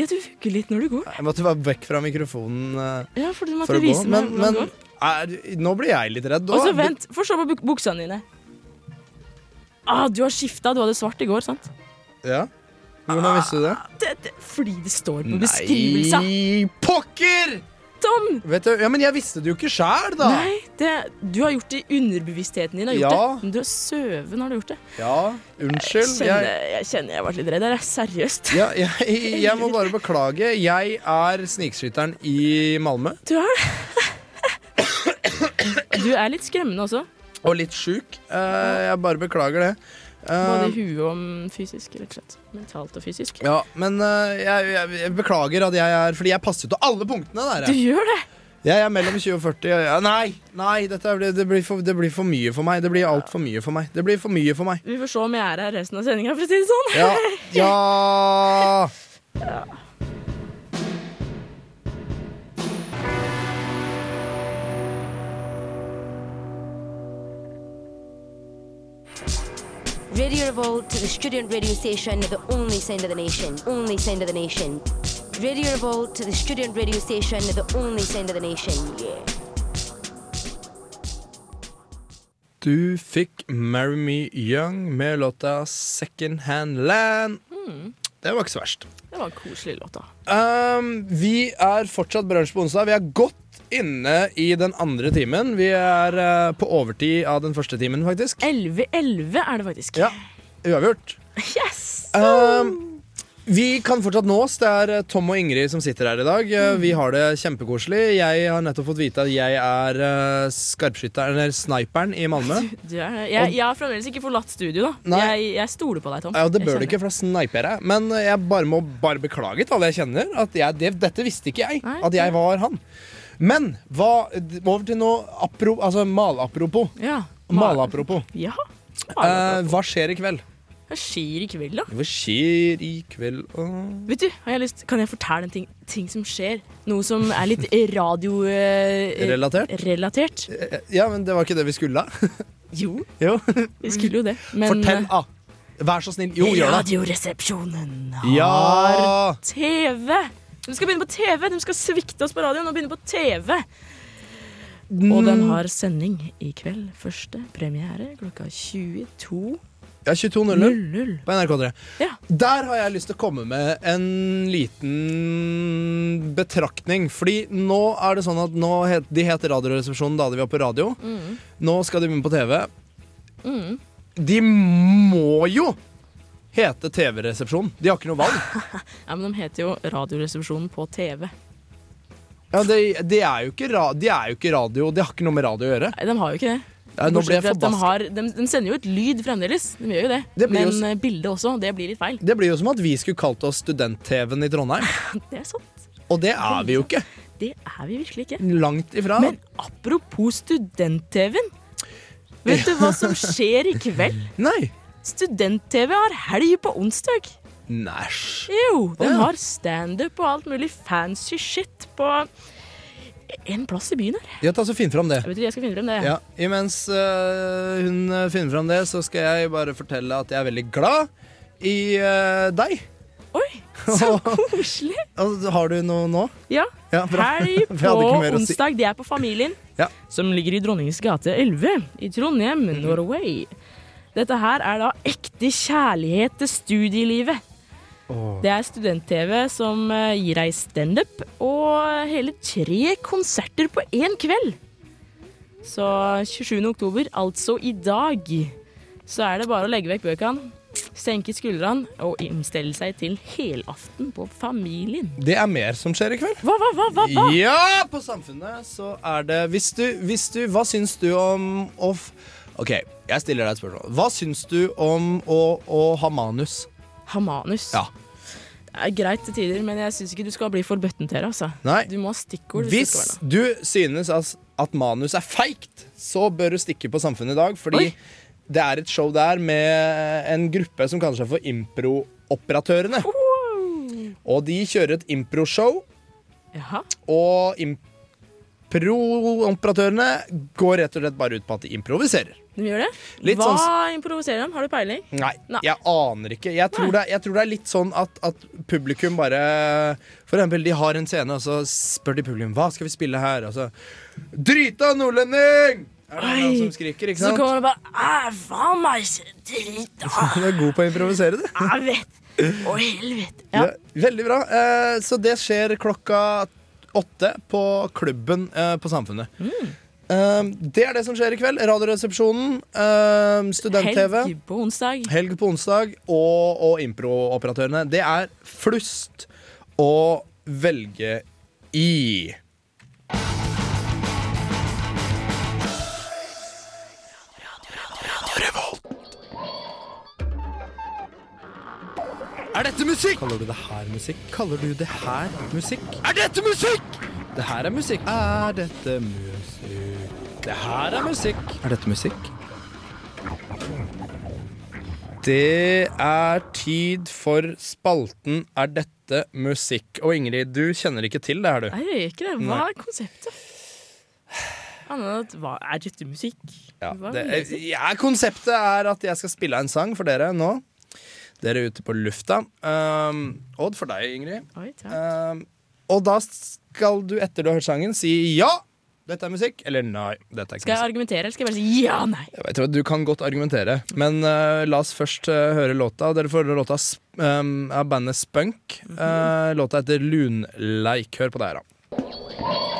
Speaker 3: Ja, du vugger litt når du går.
Speaker 2: Jeg måtte være vekk fra mikrofonen eh,
Speaker 3: Ja, for du måtte
Speaker 2: for å gå.
Speaker 3: vise meg
Speaker 2: Men,
Speaker 3: hvordan
Speaker 2: men
Speaker 3: det går.
Speaker 2: er, nå blir jeg litt redd.
Speaker 3: Og
Speaker 2: da.
Speaker 3: så vent, få se på buk- buksene dine. Ah, du har skifta. Du hadde svart i går, sant?
Speaker 2: Ja. Hvordan visste du det?
Speaker 3: Det, det, fordi det står på beskrivelsen.
Speaker 2: Nei, pokker!
Speaker 3: Tom!
Speaker 2: Vet du, ja, Men jeg visste det jo ikke sjæl, da.
Speaker 3: Nei, det, du har gjort det i underbevisstheten din. Har gjort
Speaker 2: Ja.
Speaker 3: det. Men du er søven har du gjort det.
Speaker 2: Ja,
Speaker 3: Jeg
Speaker 2: unnskyld.
Speaker 3: kjenner jeg, kjenner jeg ble litt redd. her, jeg. Seriøst.
Speaker 2: Ja, jeg, jeg må bare beklage. Jeg er snikskytteren i Malmö.
Speaker 3: Du er det. Du er litt skremmende også.
Speaker 2: Og litt sjuk. Eh, jeg bare beklager det. Eh,
Speaker 3: Både i huet og mm, fysisk, rett og slett. Mentalt og fysisk.
Speaker 2: ja, men eh, jeg, jeg, jeg beklager at jeg er Fordi jeg passer ut av alle punktene der.
Speaker 3: Du gjør det!
Speaker 2: Jeg er mellom 20 og 40. og jeg- nei, nei dette blir, det, blir for, det blir for mye for meg. Det blir altfor mye for meg. Det blir for mye for meg.
Speaker 3: Vi får se om jeg er her resten av sendinga, for å si det sånn.
Speaker 2: Ja. ja.
Speaker 16: Radio Revolt to the student radio station, the only sound of the nation. Only sound of the nation. Radio Revolt to the student radio station, the only sound of the nation. Yeah.
Speaker 2: Du fikk 'Marry Me Young' med låta 'Second Hand Land'.
Speaker 3: Mm.
Speaker 2: Det var ikke så verst.
Speaker 3: Det var en koselig låt, da.
Speaker 2: Um, vi er fortsatt Brunsj på onsdag. Vi er godt inne i den andre timen. Vi er eh, på overtid av den første timen, faktisk.
Speaker 3: 11-11 er det faktisk.
Speaker 2: Ja, Uavgjort.
Speaker 3: Yes!
Speaker 2: Um, vi kan fortsatt nås. Det er eh, Tom og Ingrid som sitter her i dag. Eh, Vi har det kjempekoselig. Jeg har nettopp fått vite at jeg er eh, skarpskytteren, eller sniperen, i Malmö.
Speaker 3: Du er, jeg, jeg har fremdeles ikke forlatt studio, da. Jeg, jeg stoler på deg, Tom.
Speaker 2: Ja, det
Speaker 3: Jeg
Speaker 2: bør du
Speaker 3: kjenner
Speaker 2: ikke, for da sniper jeg. Men jeg bare må bare beklage til alle jeg kjenner. At jeg, det, dette visste ikke jeg. At jeg var han. Men hva, over til noe apro, altså malapropos.
Speaker 3: Ja.
Speaker 2: Malapropos.
Speaker 3: Ja.
Speaker 2: Eh, hva skjer i kveld?
Speaker 3: Hva skjer i kveld, da?
Speaker 2: Hva skjer i kveld Åh.
Speaker 3: Vet du, har jeg lyst, Kan jeg fortelle en ting, ting som skjer? Noe som er litt radiorelatert?
Speaker 2: Relatert?
Speaker 3: relatert.
Speaker 2: Ja, men det var ikke det vi skulle.
Speaker 3: Jo,
Speaker 2: jo.
Speaker 3: vi skulle jo det. Men eh,
Speaker 2: Fortell, da. Vær så snill. Jo, gjør det.
Speaker 3: Radioresepsjonen
Speaker 2: Ja.
Speaker 3: TV! De skal begynne på TV! De skal svikte oss på radioen og begynne på TV!
Speaker 2: Mm.
Speaker 3: Og den har sending i kveld. Første premiere klokka 22.
Speaker 2: Ja, 22.00 på NRK3. Der har jeg lyst til å komme med en liten betraktning. Fordi nå er det sånn at nå het, de het Radioresepsjonen da de var på radio.
Speaker 3: Mm.
Speaker 2: Nå skal de begynne på TV.
Speaker 3: Mm.
Speaker 2: De må jo hete TV-resepsjon. De har ikke noe valg.
Speaker 3: Ja, men de heter jo Radioresepsjonen på TV.
Speaker 2: Ja, de, de, er jo ikke ra, de er jo ikke radio. De har ikke noe med radio å gjøre.
Speaker 3: Nei, de har jo ikke det.
Speaker 2: Ja, nå ble
Speaker 3: Bortsett
Speaker 2: jeg
Speaker 3: fra at de,
Speaker 2: forbaska.
Speaker 3: har, de, de sender jo ut lyd fremdeles. De gjør jo det.
Speaker 2: Det blir
Speaker 3: men
Speaker 2: jo s-
Speaker 3: eh, bildet også. Det blir litt feil.
Speaker 2: Det blir jo som at vi skulle kalt oss Student-TV-en i Trondheim.
Speaker 3: Det er sant.
Speaker 2: Og det er vi jo ikke.
Speaker 3: Det er vi virkelig ikke.
Speaker 2: Langt ifra.
Speaker 3: Men apropos student-TV-en. Vet du hva som skjer i kveld?
Speaker 2: Nei.
Speaker 3: Student-TV har helg på onsdag.
Speaker 2: Næsj.
Speaker 3: Jo,
Speaker 2: Å,
Speaker 3: den
Speaker 2: ja.
Speaker 3: har standup og alt mulig fancy shit på en plass i byen her.
Speaker 2: Ja, ta så finn fram det.
Speaker 3: Jeg vet ikke, jeg skal finne frem det.
Speaker 2: Ja, imens øh, hun øh, finner fram det, så skal jeg bare fortelle at jeg er veldig glad i øh, deg. Altså,
Speaker 3: Oi, så koselig!
Speaker 2: har du noe nå?
Speaker 3: Ja.
Speaker 2: Ja, bra. Vi
Speaker 3: Helg på
Speaker 2: hadde ikke mer å si.
Speaker 3: onsdag. Det er på Familien,
Speaker 2: Ja. Mhm.
Speaker 3: som ligger i Dronningens gate 11 i Trondheim, Norway. Dette her er da ekte kjærlighet til studielivet. Det er student-TV som eh, gir deg standup og hele tre konserter på én kveld. Så 27. oktober, altså i dag, så er det bare å legge vekk bøkene, senke skuldrene og innstille seg til helaften på Familien.
Speaker 2: Det er mer som skjer i kveld.
Speaker 3: Hva, hva, hva, hva? hva?
Speaker 2: Ja, på Samfunnet så er det Hvis du, hvis du Hva syns du om å f... OK, jeg stiller deg et spørsmål. Hva syns du om å, å ha manus?
Speaker 3: Ha manus?
Speaker 2: Ja.
Speaker 3: Det er greit til tider, men jeg syns ikke du skal bli for bøttentere. Altså.
Speaker 2: Nei.
Speaker 3: Du må ha stikkord.
Speaker 2: Hvis
Speaker 3: du skal være
Speaker 2: du synes at, at manus er feigt, så bør du stikke på Samfunnet i dag, fordi det er et show der med en gruppe som kaller seg for Improoperatørene. Og de kjører et improshow,
Speaker 3: noe. Jaha.
Speaker 2: og imp Pro-operatørene går rett og slett bare ut på at de improviserer.
Speaker 3: De gjør det?
Speaker 2: Litt
Speaker 3: Hva
Speaker 2: sånn-
Speaker 3: improviserer de? Har du peiling?
Speaker 2: Nei,
Speaker 3: Nei.
Speaker 2: jeg aner ikke. Jeg tror, det, er- jeg tror det er litt sånn at, at publikum bare For eksempel, de har en scene, og så spør de publikum hva skal vi spille her. Og så Drita nordlending! Er det noen som skriker, ikke
Speaker 3: Så
Speaker 2: sant?
Speaker 3: kommer det bare Æ, faen meg, så drita!
Speaker 2: Du er god på å improvisere, du.
Speaker 3: Jeg vet. Å, helvete.
Speaker 2: Ja. Veldig bra. Eh, Så det skjer klokka åtte på klubben eh, på Samfunnet.
Speaker 3: Mm.
Speaker 2: Eh, Det er det som skjer i kveld. Radioresepsjonen, eh, student-TV.
Speaker 3: Helg på onsdag.
Speaker 2: Helg på onsdag og, og improoperatørene. Det er flust å velge i. Er dette musikk? Kaller du det her musikk? Kaller du det her musikk? Er dette musikk? Det her er musikk. Er dette musikk? Det her er musikk. Er dette musikk? Det er tid for spalten Er dette musikk? Og Ingrid, du kjenner ikke til det her, du.
Speaker 3: Nei, jeg gjør ikke det. Hva
Speaker 2: Nei.
Speaker 3: er konseptet? Annet enn at hva er dette musikk?
Speaker 2: Ja,
Speaker 3: Hva
Speaker 2: det, eh,
Speaker 3: vil jeg si?
Speaker 2: ja, konseptet er at jeg skal spille en sang for dere nå. Dere er ute på lufta. Um, Odd, for deg, Ingrid. Um, og da skal du, etter du har hørt sangen, si ja, dette er musikk, eller nei. Dette er ikke
Speaker 3: Skal jeg
Speaker 2: musikk.
Speaker 3: argumentere, eller skal jeg bare si ja, nei?
Speaker 2: Jeg vet, hva, du kan godt argumentere, men eh, la oss først eh, høre låta. Dere får høre låta sp- um, av bandet Spunk.
Speaker 3: Mhm.
Speaker 2: Eh, låta heter Lunleik. Hør på det her, da.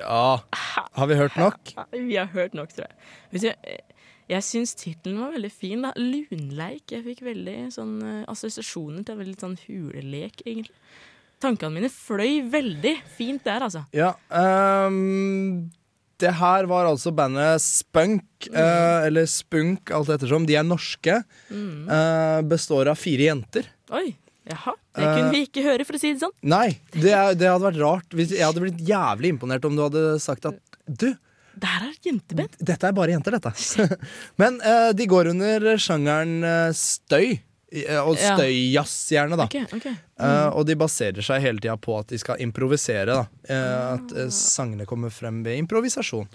Speaker 2: Ja. Har vi hørt nok?
Speaker 3: Ja, Vi har hørt nok, tror jeg. Vet du, eh, jeg syns tittelen var veldig fin. da Lunleik. Jeg fikk veldig sånn eh, assosiasjoner til veldig sånn hulelek, egentlig. Tankene mine fløy veldig fint der, altså.
Speaker 2: Ja, ehm, det her var altså bandet Spunk, eh, eller Spunk, alt ettersom. De er norske.
Speaker 3: Mm.
Speaker 2: eh, består av fire jenter.
Speaker 3: Oi. Jaha. Det kunne vi ikke høre, for å si det sånn.
Speaker 2: Nei, det, er, det hadde vært rart. Hvis, jeg hadde blitt jævlig imponert om du hadde sagt at du
Speaker 3: Der er jenteband.
Speaker 2: Dette er bare jenter, dette. Men eh, de går under sjangeren eh, støy. eh, Og
Speaker 3: Ja.
Speaker 2: støyjazz, gjerne, da.
Speaker 3: Ok, Mm. ok.
Speaker 2: Eh, og de baserer seg hele tida på at de skal improvisere. da
Speaker 3: Ah.
Speaker 2: Eh, At eh, sangene kommer frem ved improvisasjon.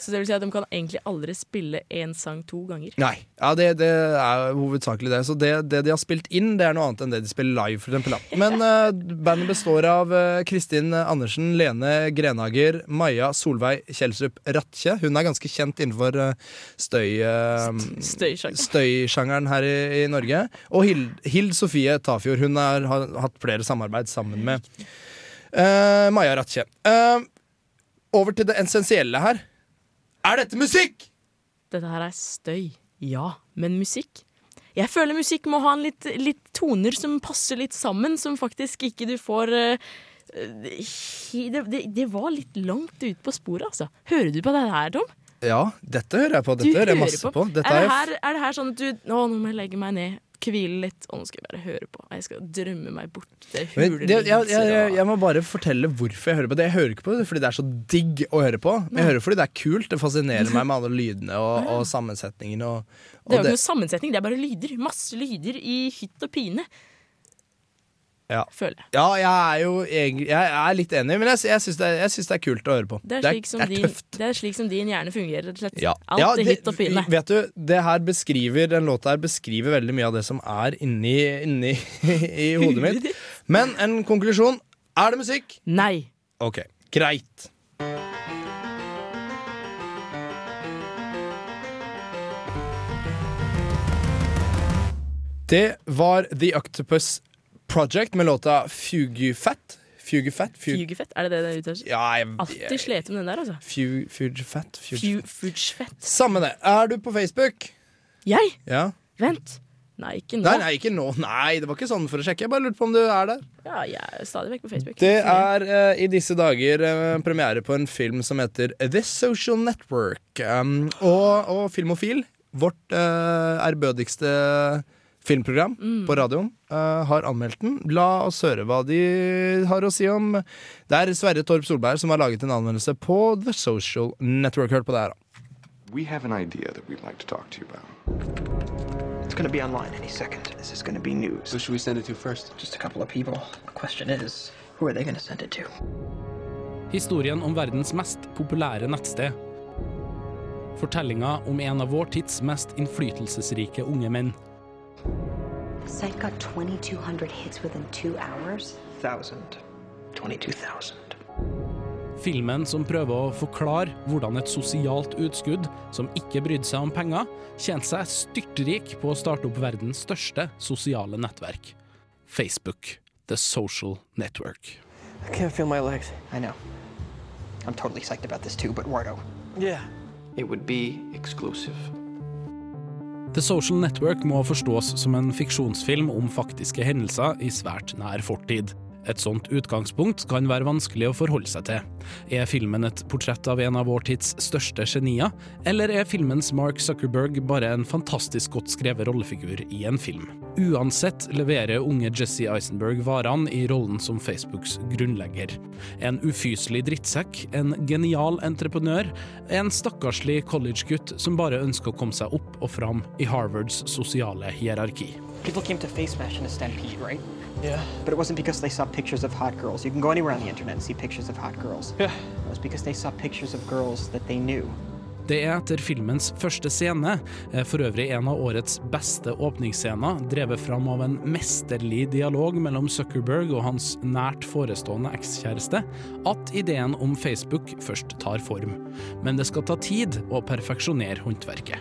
Speaker 3: Så det vil si at de kan egentlig aldri spille én sang to ganger.
Speaker 2: Nei. Ja, det, det er hovedsakelig det. Så det, det de har spilt inn, det er noe annet enn det de spiller live. For eksempel, da. Men eh, bandet består av eh, Kristin Andersen, Lene Grenhager, Maja Solveig Kjelsrup Ratkje. Hun er ganske kjent innenfor eh, støy, eh, støysjangeren her i, i Norge. Og Hild, Hild Sofie Tafjord. Hun er, har hatt flere samarbeid sammen med
Speaker 17: Eh, Maja Ratche. Eh, over til det essensielle her. Er dette musikk?!
Speaker 3: Dette her er støy, ja, men musikk? Jeg føler musikk må ha en litt, litt toner som passer litt sammen, som faktisk ikke du får eh, eh, he- det, det, det var litt langt ut på sporet, altså. Hører du på det her, Tom?
Speaker 17: Ja, dette hører jeg på.
Speaker 3: Du
Speaker 17: Dette hører jeg
Speaker 3: hører
Speaker 17: masse på. Dette er
Speaker 3: er, det
Speaker 17: jo
Speaker 3: her, er det her sånn at du Å, nå må jeg legge meg ned, hvile litt, og nå skal jeg bare høre på. Jeg skal drømme meg bort til
Speaker 17: Men
Speaker 3: huler
Speaker 17: det, jeg, jeg, jeg, jeg må bare fortelle hvorfor jeg hører på det. Jeg hører ikke på det fordi det er så digg å høre på. Men jeg hører fordi det er kult. Det fascinerer meg med alle lydene og, og sammensetningene. Og, og
Speaker 3: Det er jo ikke noe sammensetning, det er bare lyder. Masse lyder i hytt og pine.
Speaker 17: ja.
Speaker 3: føler jeg.
Speaker 17: Ja, jeg er jo egentlig Jeg er litt enig, men jeg, jeg syns det, er- jeg syns det er kult å høre på.
Speaker 3: Det er, slik som
Speaker 17: det er
Speaker 3: din,
Speaker 17: tøft.
Speaker 3: det er slik som din hjerne fungerer, rett og slett.
Speaker 17: Ja.
Speaker 3: Alt
Speaker 17: Ja,
Speaker 3: er hytt og pine.
Speaker 17: Vet du, det her beskriver Den låta her beskriver veldig mye av det som er inni, inni i hodet mitt. Men en konklusjon. Er det musikk?
Speaker 3: Nei.
Speaker 17: Ok, greit. Det var The Octopus Project med låta Fugifat. Fugifat?
Speaker 3: Fugefett, er det det det uttales?
Speaker 17: Ja, jeg,
Speaker 3: Alltid slet med den der, altså.
Speaker 17: Fu- Fugifat?
Speaker 3: Fu- Fugefett.
Speaker 17: Samme det. Er du på Facebook?
Speaker 3: Jeg?
Speaker 17: Ja.
Speaker 3: Vent. Nei, ikke nå.
Speaker 17: Nei, nei, ikke nå. Nei, det var ikke sånn for å sjekke. Jeg bare lurte på om du er der.
Speaker 3: Ja, jeg er stadig vekk på Facebook.
Speaker 17: Det er eh, i disse dager eh, premiere på en film som heter The Social Network. Um, og, og Filmofil, vårt eh, ærbødigste filmprogram
Speaker 18: Mm.
Speaker 17: på radioen, eh, har anmeldt den. La oss høre hva de har å si om Det er Sverre Torp Solberg som har laget en anmeldelse på The Social Network. Hør på det her, da.
Speaker 19: We have an idea that we'd like to talk to you about. It's gonna be online any second. This is gonna be news. Who should we send it to first? Just a couple of people. The question is, who are they gonna send it to?
Speaker 2: Historien om verdens mest populære nettsted. Fortellinga om en av vår tids mest innflytelsesrike unge menn.
Speaker 9: The site got 2,200 hits within two hours.
Speaker 19: Thousand. Twenty-two thousand.
Speaker 2: Filmen som prøver å forklare hvordan et sosialt utskudd som ikke brydde seg om penger, tjente seg styrtrik på å starte opp verdens største sosiale nettverk. Facebook. The Social Network.
Speaker 19: I can't feel my legs. I know. I'm totally psyched about this too, but Wardo. Yeah. It would be exclusive.
Speaker 2: The Social Network må forstås som en fiksjonsfilm om faktiske hendelser i svært nær fortid. Et sånt utgangspunkt kan være vanskelig å forholde seg til. Er filmen et portrett av en av vår tids største genier, eller er filmens Mark Zuckerberg bare en fantastisk godt skrevet rollefigur i en film? Uansett leverer unge Jesse Eisenberg varene i rollen som Facebooks grunnlegger. En ufyselig drittsekk, en genial entreprenør, en stakkarslig collegegutt som bare ønsker å komme seg opp og fram i Harvards sosiale hierarki.
Speaker 19: People came to Face Smash in a stampede, right? Yeah. But it wasn't because they saw pictures of hot girls. You can go anywhere on the internet and see pictures of hot girls. Yeah. It was because they saw pictures of girls that they knew.
Speaker 2: Det er etter filmens første scene, eh, for øvrig en av årets beste åpningsscener, drevet fram av en mesterlig dialog mellom Zuckerberg og hans nært forestående ekskjæreste, at ideen om Facebook først tar form. Men det skal ta tid å perfeksjonere håndverket.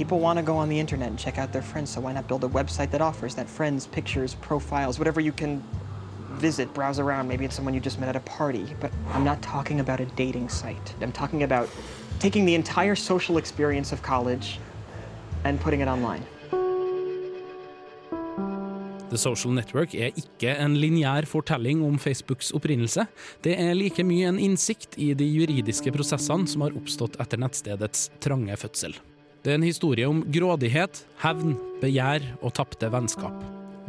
Speaker 19: People want to go on the internet and check out their friends, so why not build a website that offers that friends, pictures, profiles, whatever you can visit, browse around. Maybe it's someone you just met at a party. But I'm not talking about a dating site. I'm talking about taking the entire social experience of college and putting it online.
Speaker 2: The Social Network er ikke en lineær fortelling om Facebooks opprinnelse. Det er like mye en innsikt i de juridiske prosessene som har oppstått etter nettstedets trange fødsel. Det er en historie om grådighet, hevn, begjær og tapte vennskap.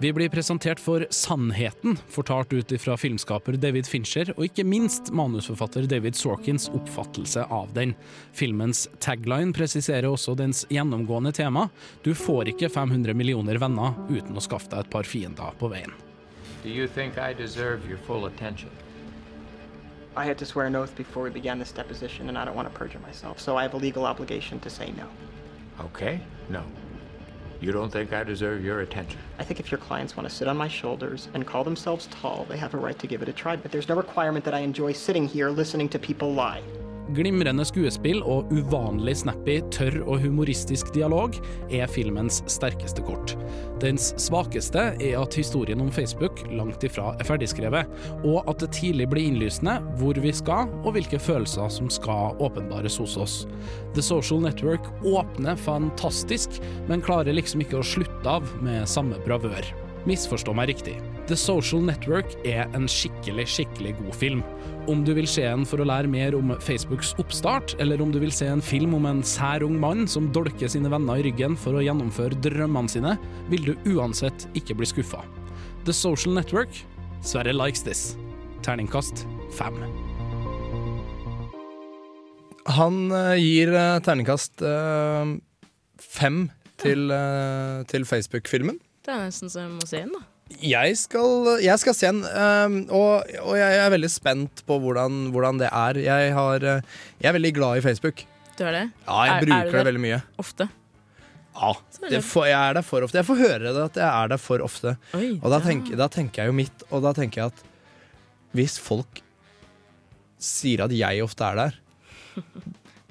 Speaker 2: Vi blir presentert for sannheten, fortalt ut ifra filmskaper David Fincher, og ikke minst manusforfatter David Sorkins oppfattelse av den. Filmens tagline presiserer også dens gjennomgående tema. Du får ikke 500 millioner venner uten å skaffe deg et par fiender på veien.
Speaker 5: Do you think I deserve your full attention?
Speaker 19: I had to swear an oath before we began this deposition, and I don't want to perjure myself, so I have a legal obligation to say no.
Speaker 5: Okay, no. You don't think I deserve your attention?
Speaker 19: I think if your clients want to sit on my shoulders and call themselves tall, they have a right to give it a try, but there's no requirement that I enjoy sitting here listening to people lie.
Speaker 20: Glimrende skuespill og uvanlig snappy, tørr og humoristisk dialog er filmens sterkeste kort. Dens svakeste er at historien om Facebook langt ifra er ferdigskrevet, og at det tidlig blir innlysende hvor vi skal og hvilke følelser som skal åpenbares hos oss. The Social Network åpner fantastisk, men klarer liksom ikke å slutte av med samme bravør. Misforstå meg riktig. The Social Network er en skikkelig, skikkelig god film. Om du vil se en for å lære mer om Facebooks oppstart, eller om du vil se en film om en sær ung mann som dolker sine venner i ryggen for å gjennomføre drømmene sine, vil du uansett ikke bli skuffa. The Social Network Sverre likes this. Terningkast fem.
Speaker 2: Han eh, gir eh, terningkast eh, fem til, eh, til Facebook-filmen.
Speaker 3: Det er nesten så jeg må se den, da.
Speaker 2: Jeg skal, jeg skal se den, ehm, og, og jeg er veldig spent på hvordan, hvordan det er. Jeg, har, eh, jeg er veldig glad i Facebook.
Speaker 3: Du er det?
Speaker 2: Ja, jeg
Speaker 3: Er- er
Speaker 2: bruker
Speaker 3: du
Speaker 2: det
Speaker 3: der
Speaker 2: veldig mye.
Speaker 3: Ofte.
Speaker 2: Ja,
Speaker 3: Så
Speaker 2: det
Speaker 3: veldig-
Speaker 2: får, jeg er der for ofte. Jeg får høre det at jeg er der for ofte.
Speaker 3: Oi,
Speaker 2: og da,
Speaker 3: ja.
Speaker 2: tenker, da tenker jeg jo mitt, og da tenker jeg at hvis folk sier at jeg ofte er der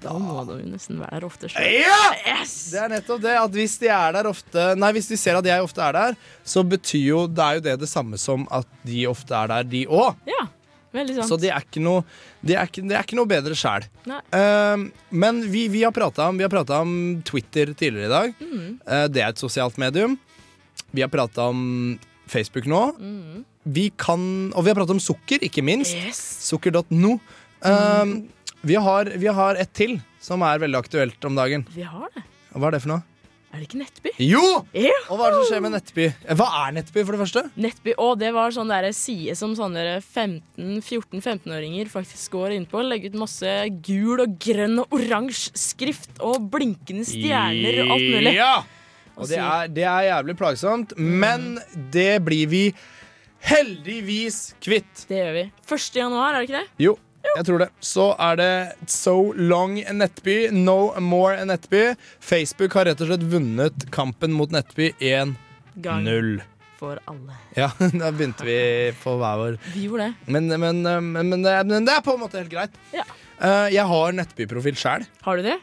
Speaker 3: Da må du jo nesten være der ofte selv.
Speaker 2: Ja! Det er nettopp det. At hvis de er der ofte Nei, hvis de ser at jeg ofte er der, så betyr jo Det er jo det det samme som at de ofte er der, de òg.
Speaker 3: Ja, veldig sant.
Speaker 2: Så det er ikke noe, det er ikke, det er ikke noe bedre sjæl.
Speaker 3: Nei.
Speaker 2: Ehm, men vi, vi har prata om, vi har pratet om Twitter tidligere i dag. Eh, det er et sosialt medium. Vi har prata om Facebook nå. Vi kan, og vi har pratet om sukker, ikke minst. Sukker.no. Ehm, vi, har, vi har et til som er veldig aktuelt om dagen.
Speaker 3: Vi har det.
Speaker 2: Hva er det for noe?
Speaker 3: Er det ikke Nettby?
Speaker 2: Jo! Og hva er det som skjer med Nettby? Eh, Hva er Nettby, for det første?
Speaker 3: Nettby, og det var sånn der side som sånne 14-15-åringer faktisk går inn på. Legger ut masse gul og grønn og oransje skrift og blinkende stjerner og alt mulig.
Speaker 2: Ja!
Speaker 3: Og
Speaker 2: Og det
Speaker 3: sier-
Speaker 2: er, det er jævlig plagsomt, men det blir vi heldigvis kvitt.
Speaker 3: Det gjør vi. 1. januar, er det ikke det?
Speaker 2: Jo, jeg tror det. Så er det So Long Nettby, No More Nettby. Facebook har rett og slett vunnet kampen mot Nettby 1-0.
Speaker 3: For alle.
Speaker 2: Ja, da begynte vi på hver vår.
Speaker 3: Vi gjorde det.
Speaker 2: Men, men, men, men, det, er- men det er på en måte helt greit.
Speaker 3: Ja.
Speaker 2: Eh, Jeg har Nettby-profil sjæl.
Speaker 3: Har du det?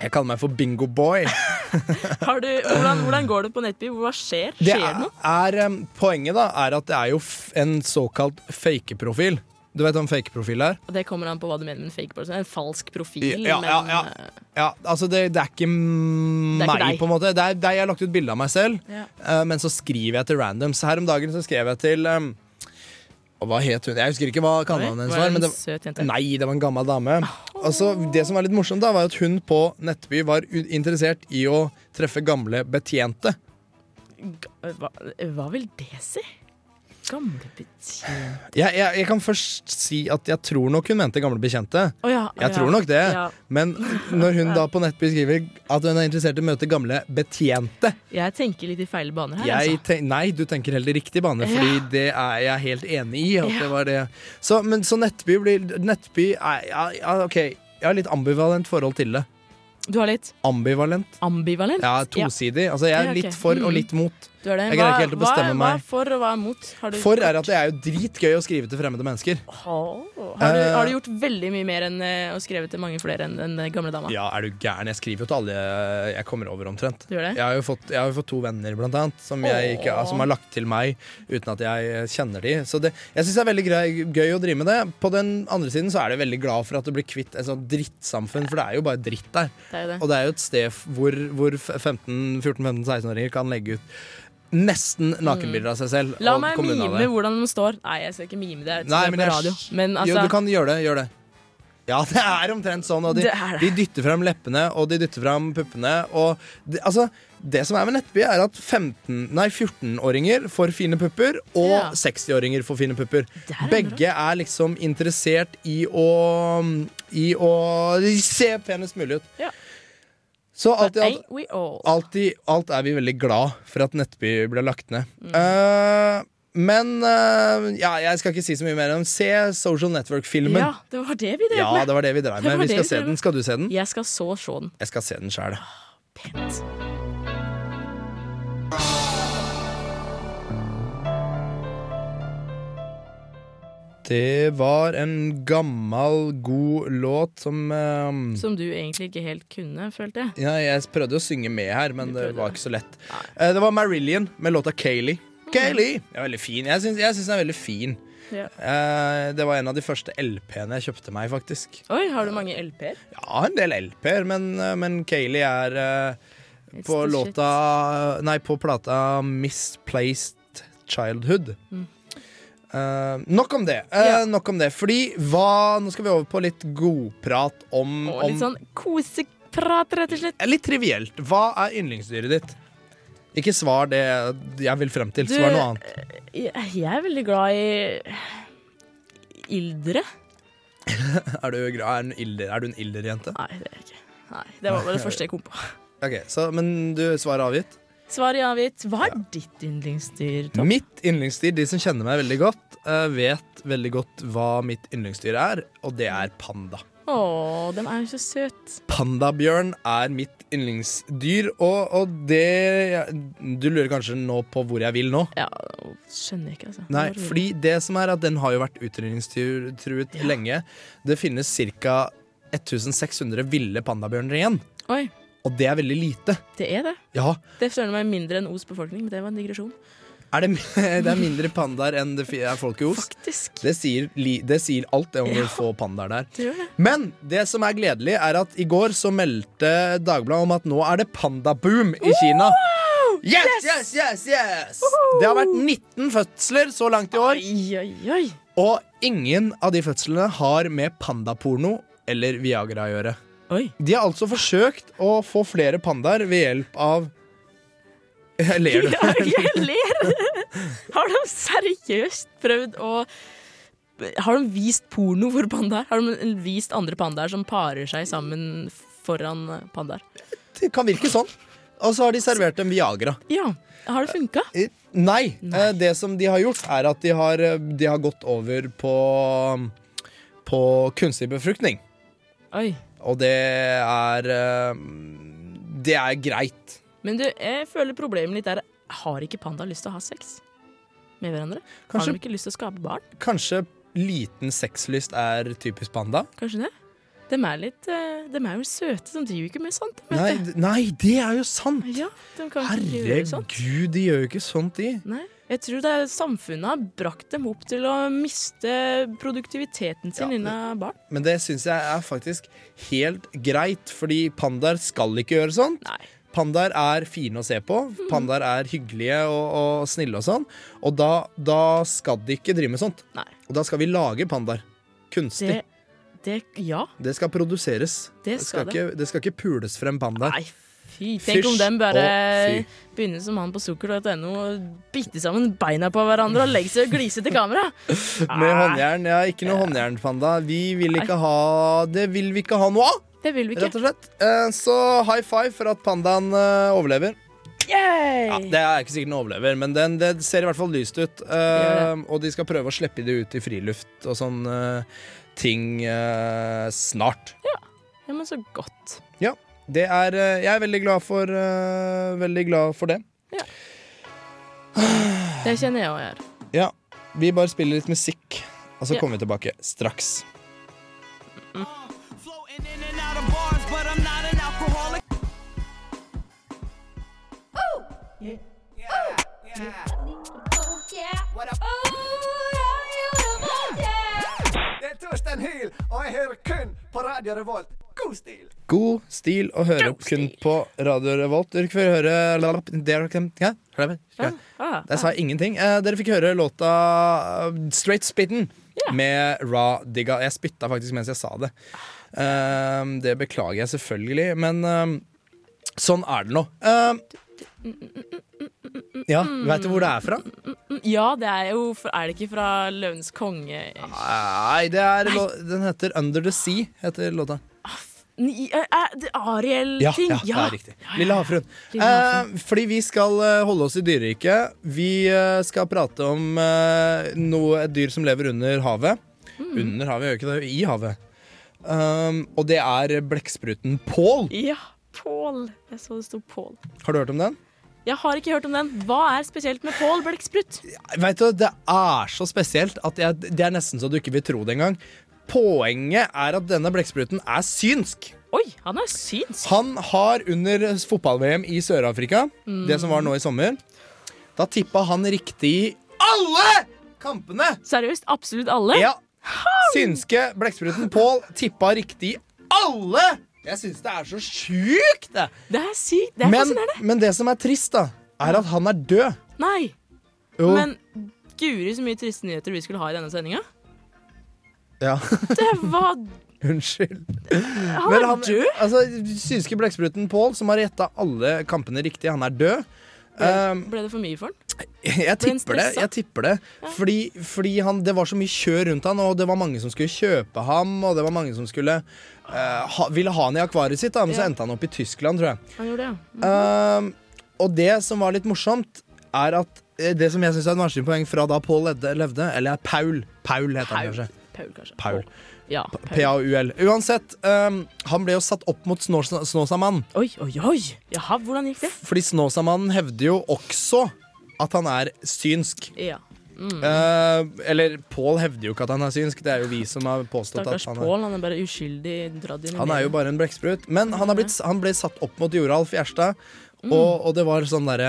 Speaker 2: Jeg kaller meg for Bingo Boy.
Speaker 3: Har du, hvordan, hvordan går det på Nettby? Hva skjer?
Speaker 2: Det
Speaker 3: skjer det
Speaker 2: er,
Speaker 3: noe?
Speaker 2: er, um, poenget da er at det er jo f en såkalt fake-profil. Du vet hva en fake-profil er?
Speaker 3: Og Det kommer an på hva du mener med en fake person. En falsk profil.
Speaker 2: Ja, ja, ja.
Speaker 3: men, eh,
Speaker 2: ja altså det, det er ikke
Speaker 3: Det er ikke
Speaker 2: meg,
Speaker 3: deg.
Speaker 2: på en måte. Det er, det er, jeg har lagt ut bilde av meg selv,
Speaker 3: Ja.
Speaker 2: eh, men så skriver jeg til randoms. Her om dagen så skrev jeg til um, og hva het hun? Jeg husker ikke hva kallenavnet hennes
Speaker 3: Var det
Speaker 2: var.
Speaker 3: en
Speaker 2: Men det,
Speaker 3: søt jente?
Speaker 2: nei, det var en gammel dame. Og så, det som var litt morsomt, da, var at hun på Nettby var u- interessert i å treffe gamle betjente.
Speaker 3: Ga- eh, Hva, hva vil det si? Gamle betjent
Speaker 2: Jeg, jeg, jeg kan først si at jeg tror nok hun mente gamle bekjente.
Speaker 3: Å ja, å
Speaker 2: jeg
Speaker 3: ja,
Speaker 2: tror nok det.
Speaker 3: ja.
Speaker 2: Men når hun da på nett beskriver at hun er interessert i å møte gamle betjente
Speaker 3: Jeg tenker litt i feil baner her.
Speaker 2: jeg
Speaker 3: altså.
Speaker 2: ten Nei, du tenker heller riktig bane, fordi
Speaker 3: Ja.
Speaker 2: det er jeg helt enig i. At
Speaker 3: Ja.
Speaker 2: det var det. Så, men, så Nettby blir Nettby er, ja, ja, OK, jeg har litt ambivalent forhold til det.
Speaker 3: altså. Du har litt
Speaker 2: Ambivalent.
Speaker 3: ambivalent.
Speaker 2: Ja, tosidig. Altså, jeg
Speaker 3: Ja,
Speaker 2: er
Speaker 3: ok.
Speaker 2: litt for og
Speaker 3: Mm.
Speaker 2: litt mot.
Speaker 3: Du er det.
Speaker 2: Jeg greier ikke helt å
Speaker 3: Hva-
Speaker 2: bestemme
Speaker 3: hva, Hva
Speaker 2: meg.
Speaker 3: er for, og hva er mot? Har du,
Speaker 2: For er at det er jo dritgøy å skrive til fremmede mennesker.
Speaker 3: Åh, har, du,
Speaker 2: Eh.
Speaker 3: har du gjort veldig mye mer enn eh, og skrevet til mange flere enn den eh, gamle dama?
Speaker 2: Ja, er du gæren? Jeg skriver jo til alle eh, jeg kommer over, omtrent.
Speaker 3: Du gjør det?
Speaker 2: Jeg har jo fått, jeg har jo fått to venner, blant annet, som, jeg ikke,
Speaker 3: Åh.
Speaker 2: som har lagt til meg uten at jeg kjenner de. Så det, jeg syns det er veldig grei, gøy å drive med det. På den andre siden så er jeg veldig glad for at det blir kvitt et sånt drittsamfunn, for det er jo bare dritt der.
Speaker 3: Det er jo det.
Speaker 2: Og det er jo et sted f- hvor, hvor 14-15-16-åringer kan legge ut nesten nakenbilder av seg selv.
Speaker 3: La
Speaker 2: og
Speaker 3: meg
Speaker 2: komme unna
Speaker 3: mime
Speaker 2: det.
Speaker 3: hvordan den står. Nei, jeg skal ikke mime det.
Speaker 2: Nei,
Speaker 3: Jeg
Speaker 2: men
Speaker 3: men på
Speaker 2: jeg-
Speaker 3: radio. Men altså,
Speaker 2: Jo, du kan gjøre det. Gjør det. Ja, det er omtrent sånn. Og de,
Speaker 3: Det er det.
Speaker 2: de dytter fram leppene, og de dytter fram puppene. Og det, altså, det som er med Nettby, er at 15, nei, 14-åringer får fine pupper, og
Speaker 3: Ja.
Speaker 2: 60-åringer får fine pupper. Begge er liksom interessert i å, i å se penest mulig ut.
Speaker 3: Ja.
Speaker 2: Så alt i
Speaker 3: But
Speaker 2: alt
Speaker 3: ain't we all?
Speaker 2: Alt, i, alt er vi veldig glad for at Nettby ble lagt ned.
Speaker 3: Mm.
Speaker 2: Eh, men eh, ja, jeg skal ikke si så mye mer om Se Social Network-filmen.
Speaker 3: Ja, det var det vi drev
Speaker 2: Ja,
Speaker 3: med.
Speaker 2: det var det vi drev
Speaker 3: Det
Speaker 2: med.
Speaker 3: var
Speaker 2: Vi
Speaker 3: det
Speaker 2: skal
Speaker 3: vi
Speaker 2: se
Speaker 3: drev
Speaker 2: den.
Speaker 3: med.
Speaker 2: Skal du se den?
Speaker 3: Jeg skal så se den.
Speaker 2: Jeg skal se den sjæl.
Speaker 3: Pent.
Speaker 2: Det var en gammel, god låt som eh,
Speaker 3: Som du egentlig ikke helt kunne, følte jeg.
Speaker 2: ja, Jeg prøvde å synge med her, men det var ikke så lett. Eh, Det var Marillion med låta Kayleigh.
Speaker 3: Mm.
Speaker 2: Kayleigh! Den er veldig fin. Jeg syns, jeg syns den er veldig fin.
Speaker 3: Ja.
Speaker 2: Eh, Det var en av de første LP-ene jeg kjøpte meg, faktisk.
Speaker 3: Oi, har du mange LP-er?
Speaker 2: Ja, en del LP-er, men, eh, men Kayleigh er eh,
Speaker 3: It's
Speaker 2: på
Speaker 3: the
Speaker 2: låta Nei, på plata Misplaced Childhood.
Speaker 3: Mm.
Speaker 2: Eh, nok om det. Eh, Nok om det. Fordi hva Nå skal vi over på litt godprat om,
Speaker 3: Og
Speaker 2: om
Speaker 3: litt sånn koseprat, rett og slett.
Speaker 2: Eh, Litt trivielt. Hva er yndlingsdyret ditt? Ikke svar det jeg vil frem til.
Speaker 3: Du-
Speaker 2: Svar noe annet.
Speaker 3: Jeg jeg er veldig glad i ildre.
Speaker 2: Er du, gra- er du en ilder- er du en ilderjente?
Speaker 3: Nei, det er jeg ikke. Nei, det var bare det første jeg kom på.
Speaker 2: Ok, så, Men du svarer avgitt?
Speaker 3: Svaret er avgitt. Hva er ditt yndlingsdyr? Tom?
Speaker 2: Mitt yndlingsdyr, de som kjenner meg veldig godt, eh, vet veldig godt hva mitt yndlingsdyr er, og det er panda.
Speaker 3: Å, de er jo så søte.
Speaker 2: Pandabjørn er mitt yndlingsdyr, og, og det Du lurer kanskje nå på hvor jeg vil nå?
Speaker 3: Ja, skjønner jeg ikke, altså.
Speaker 2: Nei,
Speaker 3: Hvor-
Speaker 2: fordi det som er at den har jo vært utrydningstruet lenge. Det finnes ca. 1600 ville pandabjørner igjen.
Speaker 3: Oi,
Speaker 2: Og det er veldig lite.
Speaker 3: det er det.
Speaker 2: Ja,
Speaker 3: Det føler meg mindre enn Os befolkning, men det var en digresjon.
Speaker 2: er det, det er mindre pandaer enn det fi- er folk i Os.
Speaker 3: Faktisk.
Speaker 2: Det sier, li- det sier alt det om hvor få pandaer det er.
Speaker 3: Det gjør det.
Speaker 2: Men det som er gledelig, er at i går så meldte Dagbladet om at nå er det pandaboom i Kina. Yes, yes, yes, yes! Det har vært 19 fødsler så langt i år. Og ingen av de fødslene har med pandaporno eller Viagra å gjøre. De har altså forsøkt å få flere pandaer ved hjelp av Jeg ler du?
Speaker 3: Ja, jeg ler! Har de seriøst prøvd å Har de vist porno for pandaer? Har de vist andre pandaer som parer seg sammen foran pandaer?
Speaker 2: Det kan virke sånn. Og så har de servert dem Viagra.
Speaker 3: Ja. Har det funka?
Speaker 2: Nei. eh, Det som de har gjort, er at de har, eh, de har gått over på, på kunstig befruktning.
Speaker 3: Oi.
Speaker 2: Og det er eh, Det er greit.
Speaker 3: Men du, jeg føler problemet litt er Har ikke pandaer lyst til å ha sex med hverandre? Har
Speaker 2: Kanskje-
Speaker 3: de ikke lyst til å skape barn?
Speaker 2: Kanskje liten sexlyst er typisk panda?
Speaker 3: Kanskje det? De er, litt, eh, de er jo søte, de driver jo ikke med sånt. de, vet
Speaker 2: Nei,
Speaker 3: du.
Speaker 2: d- nei, det er jo sant!
Speaker 3: Ja, de kan ikke gjøre sånt.
Speaker 2: Herregud, de gjør jo ikke sånt, de.
Speaker 3: Nei. Jeg tror det er samfunnet har brakt dem opp til å miste produktiviteten sin innen barn.
Speaker 2: Men det syns jeg er faktisk helt greit, fordi pandaer skal ikke gjøre sånt. Pandaer er fine å se på,
Speaker 3: Mhm.
Speaker 2: pandaer er hyggelige og, og snille og sånn. Og da, da skal de ikke drive med sånt. Og da skal vi lage pandaer. Kunstig.
Speaker 3: Det, det Ja,
Speaker 2: Det, skal produseres.
Speaker 3: Det skal det.
Speaker 2: ikke, det skal ikke pules frem pandaer.
Speaker 3: fy. Tenk om
Speaker 2: Fysj
Speaker 3: dem bare
Speaker 2: og fy.
Speaker 3: begynner som han på sukker.no og biter sammen beina på hverandre og legger seg og gliser til kamera.
Speaker 2: Med håndjern. Ja, ikke noe håndjernpanda. Vi vil ikke ha Det vil vi ikke ha noe av,
Speaker 3: Ah, Det vil vi
Speaker 2: rett
Speaker 3: ikke.
Speaker 2: og slett. Eh, Så high five for at pandaen eh, overlever. Ja,
Speaker 3: Yay!
Speaker 2: det er ikke sikkert den overlever, men den, det ser i hvert fall lyst ut. Eh, og de skal prøve å slippe det ut i friluft og sånne ting eh, snart.
Speaker 3: Ja, men så godt.
Speaker 2: Ja, det er eh, Jeg er veldig glad for, eh, veldig glad for det.
Speaker 3: Det kjenner jeg òg gjør.
Speaker 2: Ja, vi bare spiller litt musikk, og så
Speaker 3: Ja.
Speaker 2: kommer vi tilbake straks.
Speaker 8: Det er Torstein Hyl, og jeg hører kun på Radio Revolt. God stil!
Speaker 2: God stil å høre kun på Radio Revolt. Dere får høre Ja, hør det.
Speaker 3: Ah.
Speaker 2: Der sa jeg ingenting. Eh, dere fikk høre låta eh, Straight Spitten med Ra Digga. Jeg spytta faktisk mens jeg sa det. Eh, det beklager jeg selvfølgelig, men eh, sånn er det nå. Eh, ja, veit du hvor det er fra?
Speaker 3: Mm, Ja, det er jo fra- Er det ikke fra Løvens konge?
Speaker 2: Nei, det er lå- den heter Under the Sea. heter låta.
Speaker 3: Ni- eh, eh, det-
Speaker 2: Ja,
Speaker 3: Ariel-ting?
Speaker 2: ja, det er riktig. Lille havfruen.
Speaker 3: Lille havfruen.
Speaker 2: Eh, fordi vi skal eh, holde oss i dyreriket. Vi eh, skal prate om eh, noe, et dyr som lever under havet. Under havet, gjør ikke det? I havet. Um, og det er blekkspruten Pål.
Speaker 3: Ja, Pål. Jeg så det sto Pål.
Speaker 2: Har du hørt om den?
Speaker 3: Jeg har ikke hørt om den. Hva er spesielt med Pål Blekksprut?
Speaker 2: Vet du, Det er så spesielt at jeg, det er nesten så du ikke vil tro det engang. Poenget er at denne blekkspruten er synsk.
Speaker 3: Oi, han er synsk.
Speaker 2: Han har under fotball-VM i Sør-Afrika,
Speaker 3: Mm.
Speaker 2: det som var nå i sommer, da tippa han riktig i alle kampene!
Speaker 3: Seriøst? Absolutt alle?
Speaker 2: Ja. Synske blekkspruten Pål tippa riktig i alle! Jeg syns det er så sjukt, det.
Speaker 3: Det er sykt. Det sånn er
Speaker 2: men,
Speaker 3: fascinerende.
Speaker 2: men det som er trist, da, er at han er død.
Speaker 3: Nei.
Speaker 2: Jo.
Speaker 3: Men guri, så mye triste nyheter vi skulle ha i denne sendinga.
Speaker 2: Ja.
Speaker 3: Det var
Speaker 2: Unnskyld.
Speaker 3: Han
Speaker 2: Men
Speaker 3: er død?
Speaker 2: Altså, synske blekkspruten Pål, som har gjetta alle kampene riktig, han er død. Um,
Speaker 3: Ble det for mye for han?
Speaker 2: jeg
Speaker 3: ble han
Speaker 2: tipper det.
Speaker 3: stressa?
Speaker 2: jeg tipper det Fordi, fordi han, det var så mye kjør rundt han, og det var mange som skulle kjøpe ham, og det var mange som skulle eh, ha, ville ha han i akvariet sitt, da, men så
Speaker 3: Ja.
Speaker 2: endte han opp i Tyskland, tror jeg.
Speaker 3: Han gjorde det, ja.
Speaker 2: Um, og det som var litt morsomt, er at eh, det som jeg syns er et vanskelig poeng fra da Paul levde, levde eller Paul Paul heter han kanskje.
Speaker 3: Paul, kanskje.
Speaker 2: Paul.
Speaker 3: Ja,
Speaker 2: P- P-A-U-L. Uansett, um, han ble jo satt opp mot Snåsa- Snåsamannen.
Speaker 3: Oi, oi, oi! Jaha, hvordan gikk det?
Speaker 2: Fordi Snåsamannen hevder jo også at han er synsk.
Speaker 3: Ja. Mm.
Speaker 2: Eh, eller Pål hevder jo ikke at han er synsk, det er jo vi som har påstått
Speaker 3: Stakkars
Speaker 2: at han er
Speaker 3: Pål, han er bare uskyldig dratt inn i
Speaker 2: Han er jo
Speaker 3: media.
Speaker 2: bare en blekksprut. Men han, har blitt, han ble satt opp mot Joralf Gjerstad,
Speaker 3: Mm.
Speaker 2: og, og det var sånn derre